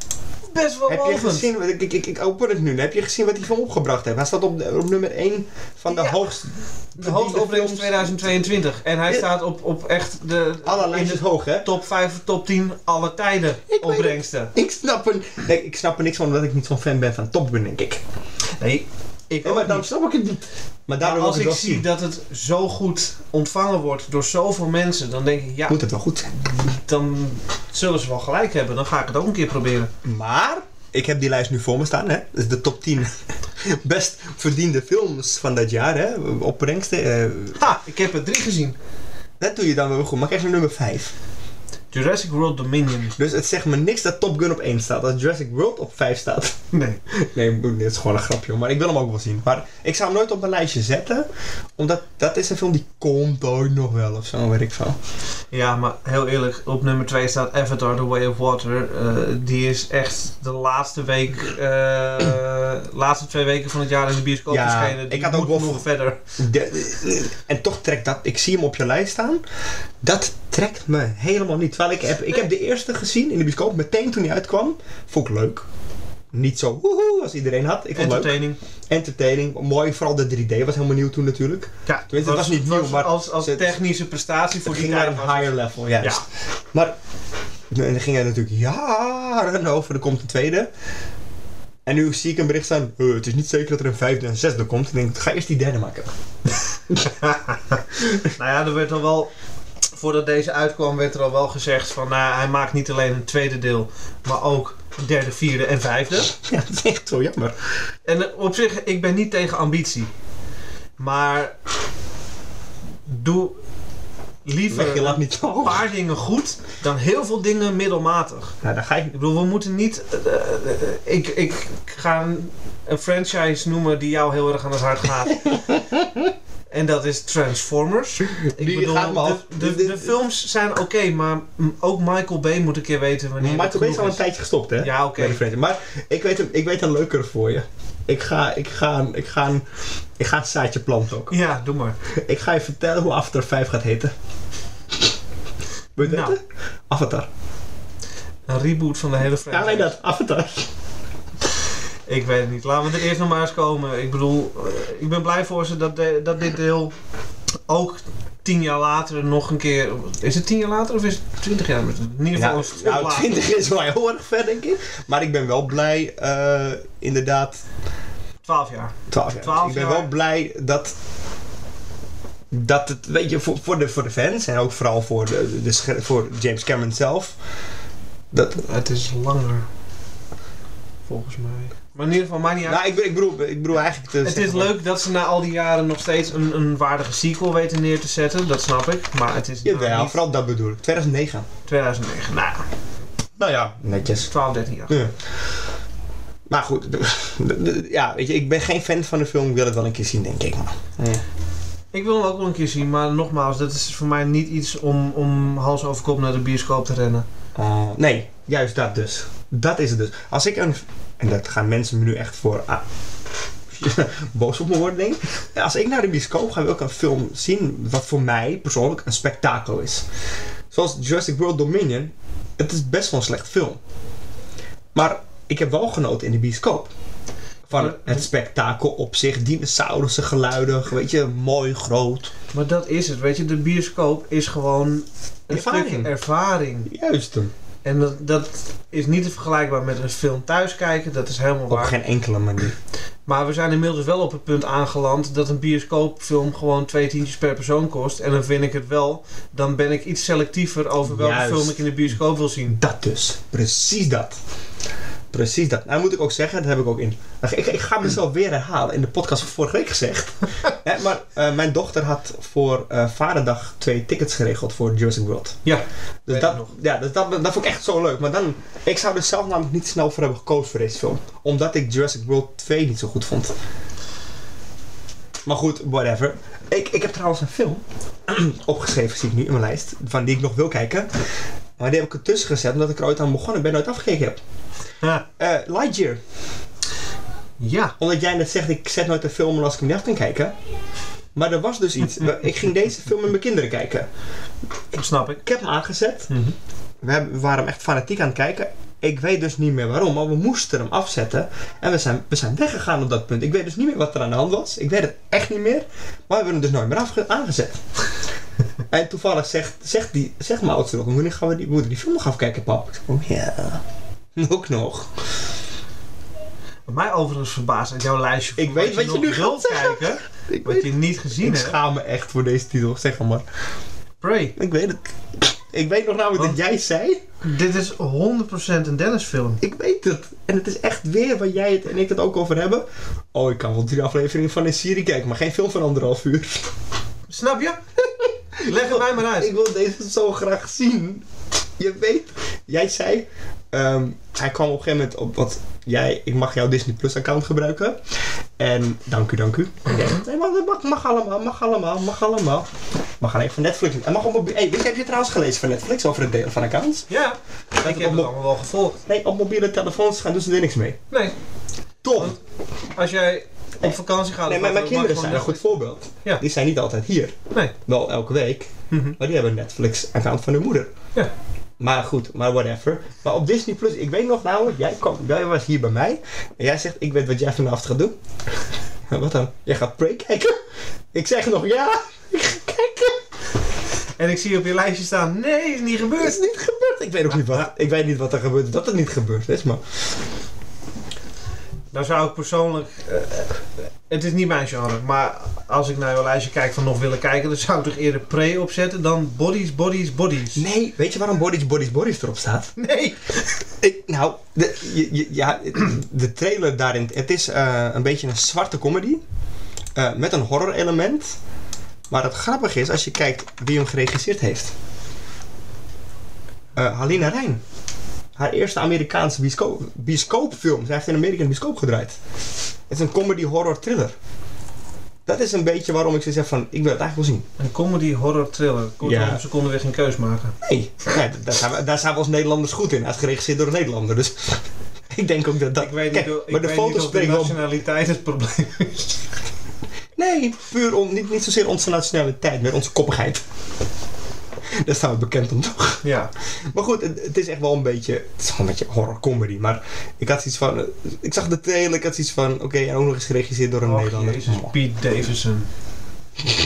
Speaker 2: best wel
Speaker 1: heb je
Speaker 2: lovend.
Speaker 1: gezien, ik, ik, ik, ik open het nu, heb je gezien wat hij van opgebracht heeft? Hij staat op, de- op nummer 1 van de
Speaker 2: Ja.
Speaker 1: hoogst...
Speaker 2: De hoofdopbrengst
Speaker 1: films.
Speaker 2: 2022. En hij
Speaker 1: Ja.
Speaker 2: staat op, op echt de,
Speaker 1: Alle
Speaker 2: in
Speaker 1: lijstjes
Speaker 2: de
Speaker 1: hoog, hè?
Speaker 2: top 5, top 10 alle tijden
Speaker 1: weet
Speaker 2: opbrengsten.
Speaker 1: Ik snap, er, nee, ik snap er niks van omdat ik niet zo'n fan ben van Top Gun, denk ik.
Speaker 2: Nee, ik
Speaker 1: Ja,
Speaker 2: ook
Speaker 1: maar dan
Speaker 2: niet. Nou,
Speaker 1: snap ik het niet. Maar daarom
Speaker 2: als ik
Speaker 1: wil ik het wel zien.
Speaker 2: zie dat het zo goed ontvangen wordt door zoveel mensen, dan denk ik, ja,
Speaker 1: Moet het wel goed zijn.
Speaker 2: dan zullen ze wel gelijk hebben. Dan ga ik het ook een keer proberen.
Speaker 1: Maar, ik heb die lijst nu voor me staan, hè. Dus de top 10 best verdiende films van dat jaar, hè. Opbrengsten. eh,
Speaker 2: Ha, ik heb er drie gezien.
Speaker 1: dat doe je dan wel goed. Maar kijk naar nummer 5.
Speaker 2: Jurassic World Dominion.
Speaker 1: Dus het zegt me niks dat Top Gun op 1 staat. Dat Jurassic World op 5 staat.
Speaker 2: Nee.
Speaker 1: Nee, dit is gewoon een grapje. hoor. Maar ik wil hem ook wel zien. Maar ik zou hem nooit op mijn lijstje zetten. Omdat dat is een film die komt ooit nog wel of zo, weet ik veel.
Speaker 2: Ja, maar heel eerlijk, op nummer 2 staat Avatar The Way of Water. Eh, die is echt de laatste week, eh, laatste twee weken van het jaar in de bioscoop
Speaker 1: Ja,
Speaker 2: verschenen. Die
Speaker 1: ik had ook
Speaker 2: moet
Speaker 1: wel
Speaker 2: nog verder.
Speaker 1: De- eh, en toch trekt dat... Ik zie hem op je lijst staan. Dat trekt me helemaal niet. Terwijl ik heb, ik heb de eerste gezien in de bioscoop meteen toen hij uitkwam. Vond ik leuk. Niet zo woehoe als iedereen had. Ik vond het leuk.
Speaker 2: Entertaining.
Speaker 1: Entertaining. Mooi. Vooral de 3D was helemaal nieuw toen natuurlijk.
Speaker 2: Ja,
Speaker 1: Tenminste, het was niet nieuw, maar
Speaker 2: als, als
Speaker 1: het-
Speaker 2: technische prestatie voor
Speaker 1: Het
Speaker 2: die
Speaker 1: ging naar
Speaker 2: tijd
Speaker 1: een
Speaker 2: was het-
Speaker 1: higher level, juist. Maar en dan ging hij natuurlijk jaren over. Er komt een tweede. En nu zie ik een bericht staan. "Eh, het is niet zeker dat er een vijfde en een zesde komt. Ik denk, ga eerst die derde maken.
Speaker 2: Nou ja, er werd al wel... Voordat deze uitkwam werd er al wel gezegd van... nou, hij maakt niet alleen een tweede deel, maar ook een derde, vierde en vijfde.
Speaker 1: Ja, dat is echt zo jammer.
Speaker 2: En eh, op zich, ik ben niet tegen ambitie. Maar doe
Speaker 1: Leg je
Speaker 2: liever
Speaker 1: lat
Speaker 2: een
Speaker 1: niet zo hoog.
Speaker 2: paar dingen goed dan heel veel dingen middelmatig.
Speaker 1: Nou, dan ga ik...
Speaker 2: Ik bedoel, we moeten niet. eh, eh, eh, ik, ik ga een, een franchise noemen die jou heel erg aan het hart gaat. en dat is Transformers. Ik
Speaker 1: Die gaat me af.
Speaker 2: de, de, de films zijn oké, maar m- ook Michael Bay moet een keer weten wanneer.
Speaker 1: Maar
Speaker 2: het
Speaker 1: toen ben je al
Speaker 2: genoeg
Speaker 1: een tijdje gestopt, hè?
Speaker 2: is. Ja, oké.
Speaker 1: Met de franchise. Maar ik weet, een, ik weet een leuker voor je. Ik ga, ik ga, een- ik ga, een, ik ga een zaadje planten ook.
Speaker 2: Ja, doe maar.
Speaker 1: Ik ga je vertellen hoe Avatar 5 gaat heten. Wil je het
Speaker 2: Nou.
Speaker 1: weten? Avatar.
Speaker 2: Een reboot van de hele franchise.
Speaker 1: Ja, alleen dat. Avatar.
Speaker 2: Ik weet het niet. Laten we er eerst nog maar eens komen. Ik bedoel, eh, ik ben blij voor ze dat, de- dat dit deel ook tien jaar later nog een keer... Is het tien jaar later of is het twintig jaar? later? In ieder geval
Speaker 1: Nou,
Speaker 2: is het
Speaker 1: nou,
Speaker 2: later.
Speaker 1: 20 is wel heel erg ver, denk ik. Maar ik ben wel blij, eh, inderdaad,
Speaker 2: Twaalf jaar.
Speaker 1: 12 jaar.
Speaker 2: 12
Speaker 1: ik ben
Speaker 2: jaar.
Speaker 1: wel blij dat, dat het, weet je, voor, voor, de, voor de fans en ook vooral voor, de, de scher- voor James Cameron zelf. Dat,
Speaker 2: Het is langer. Volgens mij. Maar in ieder geval, maakt niet uit.
Speaker 1: Nou, ik, be- ik bedoel, ik bedoel eigenlijk... te
Speaker 2: het is
Speaker 1: zeggen van-
Speaker 2: leuk dat ze na al die jaren nog steeds een, een waardige sequel weten neer te zetten. Dat snap ik. Maar het is nou
Speaker 1: Jawel,
Speaker 2: niet
Speaker 1: vooral dat bedoel ik. 2009.
Speaker 2: 2009. Nou,
Speaker 1: Nou ja, netjes.
Speaker 2: 12, 13 jaar.
Speaker 1: Ja. Maar goed, de- de- de- ja, weet je, ik ben geen fan van de film. Ik wil het wel een keer zien, denk ik. Maar.
Speaker 2: Ik wil hem ook wel een keer zien, maar nogmaals, dat is voor mij niet iets om, om hals over kop naar de bioscoop te rennen.
Speaker 1: Eh, nee, juist dat dus. Dat is het dus. Als ik een. En dat gaan mensen me nu echt voor. ah, boos op me worden, denk ik. Ja, als ik naar de bioscoop ga, wil ik een film zien wat voor mij persoonlijk een spektakel is. Zoals Jurassic World Dominion. Het is best wel een slecht film. Maar ik heb wel genoten in de bioscoop. Van
Speaker 2: Ja.
Speaker 1: het spektakel op zich, dinosaurussen geluiden, weet je, mooi, groot.
Speaker 2: Maar dat is het, weet je. De bioscoop is gewoon een
Speaker 1: Ervaring.
Speaker 2: stuk ervaring.
Speaker 1: Juist hem.
Speaker 2: En dat, dat is niet vergelijkbaar met een film thuis kijken. Dat is helemaal
Speaker 1: Op
Speaker 2: waar.
Speaker 1: geen enkele manier.
Speaker 2: Maar we zijn inmiddels wel op het punt aangeland dat een bioscoopfilm gewoon twee tientjes per persoon kost. En dan vind ik het wel. Dan ben ik iets selectiever over welke
Speaker 1: Juist.
Speaker 2: film ik in de bioscoop wil zien.
Speaker 1: Dat dus. Precies dat. Precies dat. Nou moet ik ook zeggen, dat heb ik ook in. Ik, ik ga mezelf weer herhalen. In de podcast van vorige week gezegd. Hè, maar eh, mijn dochter had voor eh, Vaderdag twee tickets geregeld voor Jurassic World.
Speaker 2: Ja,
Speaker 1: Dus,
Speaker 2: Weet
Speaker 1: dat,
Speaker 2: ik nog.
Speaker 1: ja, dus dat, dat vond ik echt zo leuk. Maar dan, ik zou er zelf namelijk niet snel voor hebben gekozen voor deze film. Omdat ik Jurassic World 2 niet zo goed vond. Maar goed, whatever. Ik, ik heb trouwens een film opgeschreven, zie ik nu in mijn lijst. Van die ik nog wil kijken. Maar die heb ik ertussen gezet omdat ik er ooit aan begonnen ben en nooit afgekeken heb.
Speaker 2: Ha.
Speaker 1: Eh, Lightyear.
Speaker 2: ja.
Speaker 1: Omdat jij net zegt, ik zet nooit een film als ik hem niet af kan kijken. Maar er was dus iets. ik ging deze film met mijn kinderen kijken.
Speaker 2: dat snap ik.
Speaker 1: Ik heb hem aangezet. We, hebben- we waren hem echt fanatiek aan het kijken. Ik weet dus niet meer waarom, maar we moesten hem afzetten. En we zijn, we zijn weggegaan op dat punt. Ik weet dus niet meer wat er aan de hand was. Ik weet het echt niet meer. Maar we hebben hem dus nooit meer afge- aangezet. en toevallig zegt, zegt, die, zegt mijn oudste nog... Wanneer gaan we die, we moeten die film nog afkijken, pap? Ik zeg, oh ja. Ook nog.
Speaker 2: Wat mij overigens verbaast uit jouw lijstje. van
Speaker 1: Ik weet wat je
Speaker 2: nog
Speaker 1: nu gaat
Speaker 2: wilt kijken,
Speaker 1: Ik,
Speaker 2: wat
Speaker 1: weet,
Speaker 2: je niet gezien
Speaker 1: ik
Speaker 2: hebt.
Speaker 1: schaam me echt voor deze titel, zeg maar.
Speaker 2: Prey.
Speaker 1: Ik weet het. Ik weet nog namelijk dat jij zei...
Speaker 2: Dit is 100% een Dennis film.
Speaker 1: Ik weet het. En het is echt weer waar jij het en ik het ook over hebben. Oh, ik kan wel drie afleveringen van een serie kijken, maar geen film van anderhalf uur.
Speaker 2: Snap je? Leg het mij maar uit.
Speaker 1: Ik wil deze zo graag zien. Je weet, jij zei, ehm, hij kwam op een gegeven moment op, want jij, ik mag jouw Disney Plus account gebruiken. En dank u, dank u. En jij zegt, nee, maar dat mag, mag allemaal, mag allemaal, mag allemaal. Mag alleen van Netflix. En mag op mobiel. Hey, weet je, heb je trouwens gelezen van Netflix over het delen van accounts?
Speaker 2: Ja, ik heb het allemaal wel gevolgd.
Speaker 1: Nee, op mobiele telefoons gaan doen ze er niks mee.
Speaker 2: Nee,
Speaker 1: Top!
Speaker 2: als jij op vakantie gaat...
Speaker 1: Nee,
Speaker 2: of
Speaker 1: maar mijn
Speaker 2: wat,
Speaker 1: kinderen
Speaker 2: maak
Speaker 1: zijn
Speaker 2: gewoon
Speaker 1: een goed voorbeeld.
Speaker 2: Ja.
Speaker 1: Die zijn niet altijd hier.
Speaker 2: Nee.
Speaker 1: Wel elke week.
Speaker 2: Mhm.
Speaker 1: Maar die hebben een Netflix-account van hun moeder.
Speaker 2: Ja.
Speaker 1: Maar goed, maar whatever. Maar op Disney Plus, ik weet nog namelijk, jij, kwam, jij was hier bij mij. En jij zegt, ik weet wat jij vanavond gaat doen. wat dan? Jij gaat Prey kijken? Ik zeg nog ja. Ik ga kijken.
Speaker 2: En ik zie op je lijstje staan, nee, is niet
Speaker 1: Het
Speaker 2: gebeurd.
Speaker 1: is niet gebeurd. Ik weet ook niet wat, ik weet niet wat er gebeurt. Dat het niet gebeurd is, maar...
Speaker 2: Dan zou ik persoonlijk... eh, eh, het is niet mijn genre, maar als ik naar jouw lijstje kijk van nog willen kijken... dan zou ik toch eerder Prey opzetten dan Bodies, Bodies, Bodies.
Speaker 1: Nee, weet je waarom Bodies, Bodies, Bodies erop staat?
Speaker 2: Nee.
Speaker 1: Ik, nou, de, je- je- ja, de trailer daarin, het is eh, een beetje een zwarte comedy. eh, met een horror element. Maar het grappige is, als je kijkt wie hem geregisseerd heeft. Eh, Halina Rijn. Haar eerste Amerikaanse bioscoop, bioscoopfilm. Zij heeft in Amerika een bioscoop gedraaid. Het is een comedy horror thriller. Dat is een beetje waarom ik ze zeg van, ik wil het eigenlijk wel zien.
Speaker 2: Een comedy horror thriller. Kortom,
Speaker 1: Ja.
Speaker 2: ja. ze konden weer geen keus maken.
Speaker 1: Nee, nee, daar, zijn we, daar zijn we als Nederlanders goed in. Hij is geregisseerd door een Nederlander, dus ik denk ook dat dat...
Speaker 2: Ik weet
Speaker 1: Kijk,
Speaker 2: niet, of- ik
Speaker 1: maar de
Speaker 2: weet
Speaker 1: foto's
Speaker 2: niet of de
Speaker 1: spreken wel...
Speaker 2: nationaliteit het probleem is.
Speaker 1: Nee, puur om, niet, niet zozeer onze nationaliteit, maar onze koppigheid. Daar staan we bekend om, toch?
Speaker 2: Ja.
Speaker 1: Maar goed, het, het is echt wel een beetje... Het is wel een beetje horror comedy, maar ik had zoiets van... eh, Ik zag de trailer, ik had zoiets van... Oké, en ook nog eens geregisseerd door een
Speaker 2: Och,
Speaker 1: Nederlander.
Speaker 2: Jezus,
Speaker 1: Oh.
Speaker 2: Pete Davidson.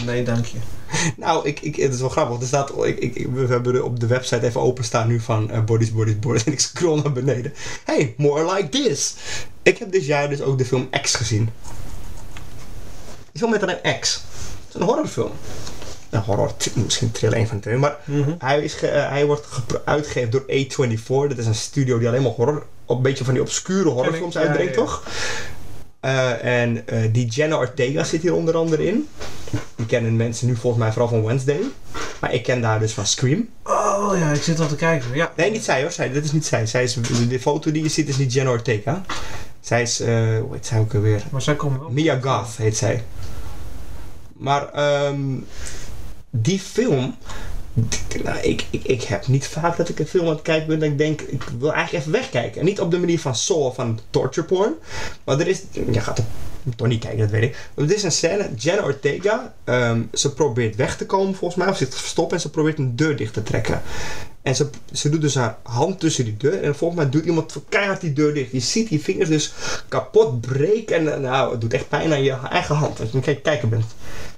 Speaker 2: Nee, dank je.
Speaker 1: Nou, ik, ik, het is wel grappig. Er staat, ik, ik, ik- we hebben er op de website even openstaan nu van eh, Bodies, Bodies, Bodies. En ik scroll naar beneden. Hey, more like this. Ik heb dit jaar dus ook de film X gezien. Die film met een X. Het is een horrorfilm. Een horror, t- misschien thriller, een van de twee. Maar hij, is ge- eh, hij wordt gepro- uitgegeven door A24. Dat is een studio die alleen maar horror... Een beetje van die obscure horrorfilms
Speaker 2: Ken ik, ja,
Speaker 1: uitbrengt,
Speaker 2: ja.
Speaker 1: toch? Eh, en eh, die Jenna Ortega zit hier onder andere in. Die kennen mensen nu volgens mij vooral van Wednesday. Maar ik ken daar dus van Scream.
Speaker 2: Oh ja, ik zit al te kijken. Ja.
Speaker 1: Nee, niet zij hoor. Zij, dit is niet zij. zij is, de foto die je ziet is niet Jenna Ortega. Zij is... eh, hoe heet zij ook alweer?
Speaker 2: Maar zij komen wel.
Speaker 1: Mia Goth heet zij. Maar ehm, die film... die- Nou, ik, ik, ik heb niet vaak dat ik een film aan het kijken ben dat ik denk, ik wil eigenlijk even wegkijken. En niet op de manier van Saw, van torture porn. Maar er is... Je gaat op moet toch niet kijken, dat weet ik. Want dit is een scène, Jenna Ortega, ehm, ze probeert weg te komen volgens mij, of zit verstopt en ze probeert een deur dicht te trekken. En ze, ze doet dus haar hand tussen die deur en volgens mij doet iemand keihard die deur dicht. Je ziet die vingers dus kapot breken en eh, nou, het doet echt pijn aan je eigen hand als je aan het kijken bent.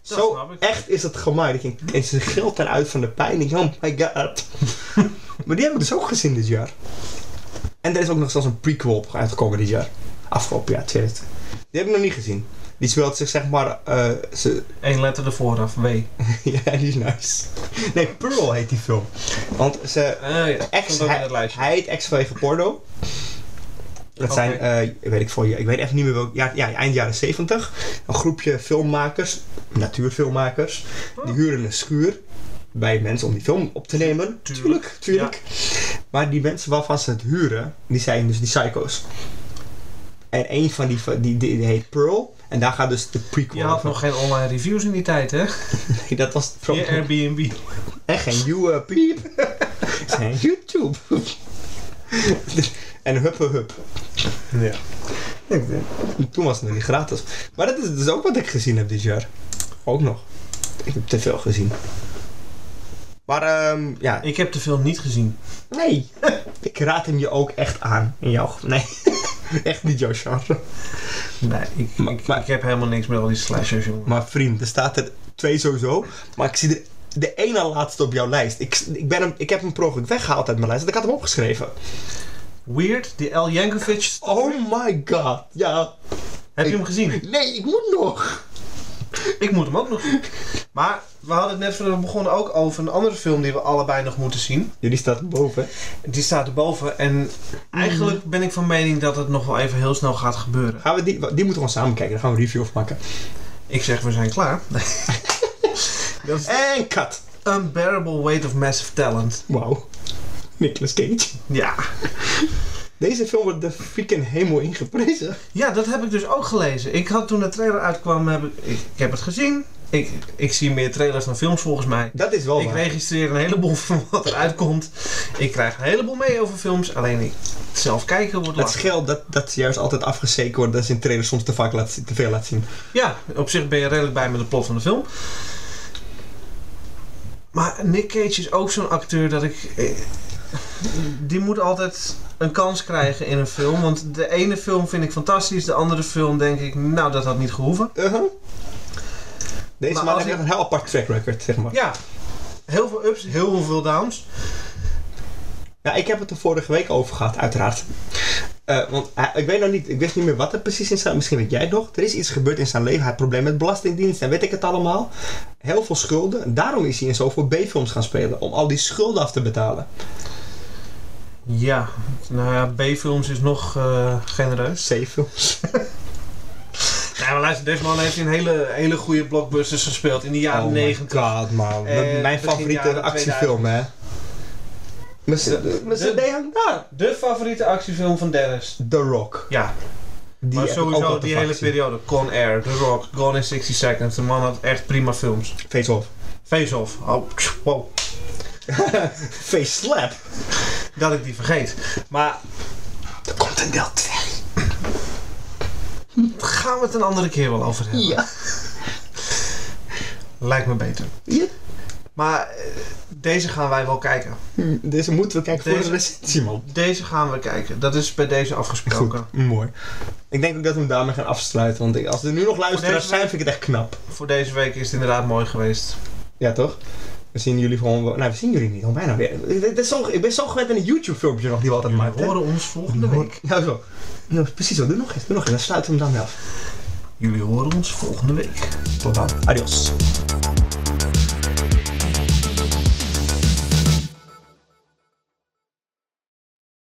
Speaker 2: Dat
Speaker 1: Zo
Speaker 2: snap ik.
Speaker 1: echt is het gemaaid. Ik denk, En ze gilt eruit van de pijn. Ik denk, oh my god. maar die heb ik dus ook gezien dit jaar. En er is ook nog zelfs een prequel op uitgekomen dit jaar. Afgelopen jaar, 2020. Die heb ik nog niet gezien. Die speelt zich zeg maar... eh, ze,
Speaker 2: Eén letter ervoor af, W.
Speaker 1: Eh, ja, die is nice. Nee, Pearl heet die film. Want ze,
Speaker 2: Eh ja,
Speaker 1: ex,
Speaker 2: stond ook in
Speaker 1: hij,
Speaker 2: het lijstje.
Speaker 1: hij heet ex vanwege porno. Dat
Speaker 2: Oké.
Speaker 1: zijn, eh, weet ik voor je, ik weet echt niet meer welk, ja, ja, eind jaren 70. Een groepje filmmakers, natuurfilmmakers,
Speaker 2: Oh.
Speaker 1: die huren een schuur bij mensen om die film op te nemen.
Speaker 2: Tuurlijk.
Speaker 1: Tuurlijk, tuurlijk. Maar die mensen waarvan ze het huren, die zijn dus die psycho's. En een van die, die, die, die heet Pearl. En daar gaat dus de prequel
Speaker 2: Je had
Speaker 1: over.
Speaker 2: nog geen online reviews in die tijd, hè?
Speaker 1: Nee, dat was het
Speaker 2: Je
Speaker 1: probleem.
Speaker 2: Airbnb.
Speaker 1: En geen you, eh, piep. Geen YouTube. en huppe hup.
Speaker 2: Ja.
Speaker 1: Ik denk, Toen was het nog niet gratis. Maar dat is dus ook wat ik gezien heb dit jaar. Ook nog. Ik heb te veel gezien. Maar ehm, ja,
Speaker 2: Ik heb de film niet gezien.
Speaker 1: nee. Ik raad hem je ook echt aan. In jouw... Nee. Echt niet jouw genre.
Speaker 2: Nee, ik,
Speaker 1: Maar-
Speaker 2: ik,
Speaker 1: maar-
Speaker 2: ik heb helemaal niks met al die slashers, jongen.
Speaker 1: Maar vriend, er staat er twee sowieso. Maar ik zie de, de ene na laatste op jouw lijst. Ik, ik, ben hem, ik heb hem per ongeluk weggehaald uit mijn lijst. Want ik had hem opgeschreven.
Speaker 2: Weird, die El Yankovic.
Speaker 1: Oh my god. Ja.
Speaker 2: Heb je
Speaker 1: ik-
Speaker 2: hem gezien?
Speaker 1: Nee, ik moet nog.
Speaker 2: Ik moet hem ook nog zien. Maar we hadden het net voordat we begonnen ook over een andere film die we allebei nog moeten zien.
Speaker 1: Jullie staat boven.
Speaker 2: Die staat erboven en eigenlijk ben ik van mening dat het nog wel even heel snel gaat gebeuren.
Speaker 1: Gaan we die, die moeten we gewoon samen kijken. Daar gaan we een review van maken.
Speaker 2: Ik zeg, we zijn klaar. dat is
Speaker 1: En cut.
Speaker 2: Unbearable Weight of Massive Talent.
Speaker 1: Wauw. Nicolas Cage.
Speaker 2: Ja.
Speaker 1: Deze film wordt de freaking hemel ingeprezen.
Speaker 2: Ja, dat heb ik dus ook gelezen. Ik had toen de trailer uitkwam, heb ik, ik, ik heb het gezien. Ik, ik zie meer trailers dan films volgens mij.
Speaker 1: Dat is wel
Speaker 2: ik
Speaker 1: waar.
Speaker 2: registreer een heleboel van wat er uitkomt. Ik krijg een heleboel mee over films. Alleen ik zelf kijken wordt
Speaker 1: Het
Speaker 2: lastig.
Speaker 1: scheelt dat, dat ze juist altijd afgezeken worden dat ze in trailers soms te vaak laat, zien- te veel laat zien.
Speaker 2: Ja, op zich ben je redelijk bij met de plot van de film. Maar Nick Cage is ook zo'n acteur dat ik... eh, Die moet altijd een kans krijgen in een film. Want de ene film vind ik fantastisch. De andere film denk ik, nou dat had niet gehoeven.
Speaker 1: Uh-huh. Deze
Speaker 2: Maar
Speaker 1: man
Speaker 2: als
Speaker 1: heeft
Speaker 2: ik-
Speaker 1: echt een heel apart track record, zeg maar. Ja.
Speaker 2: Ja, heel veel ups, heel veel downs.
Speaker 1: Nou, ik heb het er vorige week over gehad, uiteraard. Eh, want hij- ik weet nog niet, ik wist niet meer wat er precies in staat. Misschien weet jij het nog. Er is iets gebeurd in zijn leven. Hij heeft problemen met belastingdienst en weet ik het allemaal. Heel veel schulden. Daarom is hij in zoveel B-films gaan spelen. Om al die schulden af te betalen.
Speaker 2: Ja, nou ja, B-films is nog eh, genereus.
Speaker 1: C-films.
Speaker 2: Ja, maar luister, deze man heeft in hele, hele goede blockbusters gespeeld in de jaren
Speaker 1: oh
Speaker 2: 90.
Speaker 1: my god, man.
Speaker 2: Eh,
Speaker 1: Mijn- mijn
Speaker 2: begin
Speaker 1: favoriete
Speaker 2: jaren
Speaker 1: actiefilm, hè.
Speaker 2: De-
Speaker 1: Mr.
Speaker 2: de-
Speaker 1: Mr. Day hangt daar.
Speaker 2: De favoriete actiefilm van Dennis.
Speaker 1: The Rock.
Speaker 2: Ja,
Speaker 1: Die
Speaker 2: maar
Speaker 1: heb ik ook al
Speaker 2: sowieso
Speaker 1: te
Speaker 2: die
Speaker 1: vaak
Speaker 2: hele
Speaker 1: gezien.
Speaker 2: periode. Con Air, The Rock, Gone in 60 Seconds. De man had echt prima films.
Speaker 1: Face off.
Speaker 2: Face Off. Oh, pff, wow.
Speaker 1: Face slap.
Speaker 2: Dat ik die vergeet. Maar
Speaker 1: Er komt een deel 2.
Speaker 2: daar gaan we het een andere keer wel over hebben.
Speaker 1: Ja.
Speaker 2: Lijkt me beter.
Speaker 1: ja.
Speaker 2: Maar eh, deze gaan wij wel kijken.
Speaker 1: Hm, Deze moeten we kijken voor
Speaker 2: Deze-
Speaker 1: de recensie, man.
Speaker 2: Deze gaan we kijken. Dat is bij deze afgesproken.
Speaker 1: Goed, mooi. Ik denk ook dat we hem daarmee gaan afsluiten. Want ik- als er nu nog luisteraars
Speaker 2: deze
Speaker 1: zijn, vind ik het echt knap.
Speaker 2: Voor deze week is het inderdaad mooi geweest.
Speaker 1: Ja, toch? We zien jullie gewoon... wel- Nou, we zien jullie niet. Al bijna weer. Dit- dit is zo- Ik ben zo gewend aan een YouTube-filmpje nog die we altijd
Speaker 2: We
Speaker 1: maken.
Speaker 2: horen ons volgende week.
Speaker 1: Ja, zo. Nou, precies zo. Doe nog eens. Doe nog eens. Dan sluiten we hem dan weer af.
Speaker 2: Jullie horen ons volgende week.
Speaker 1: Tot dan. Adios.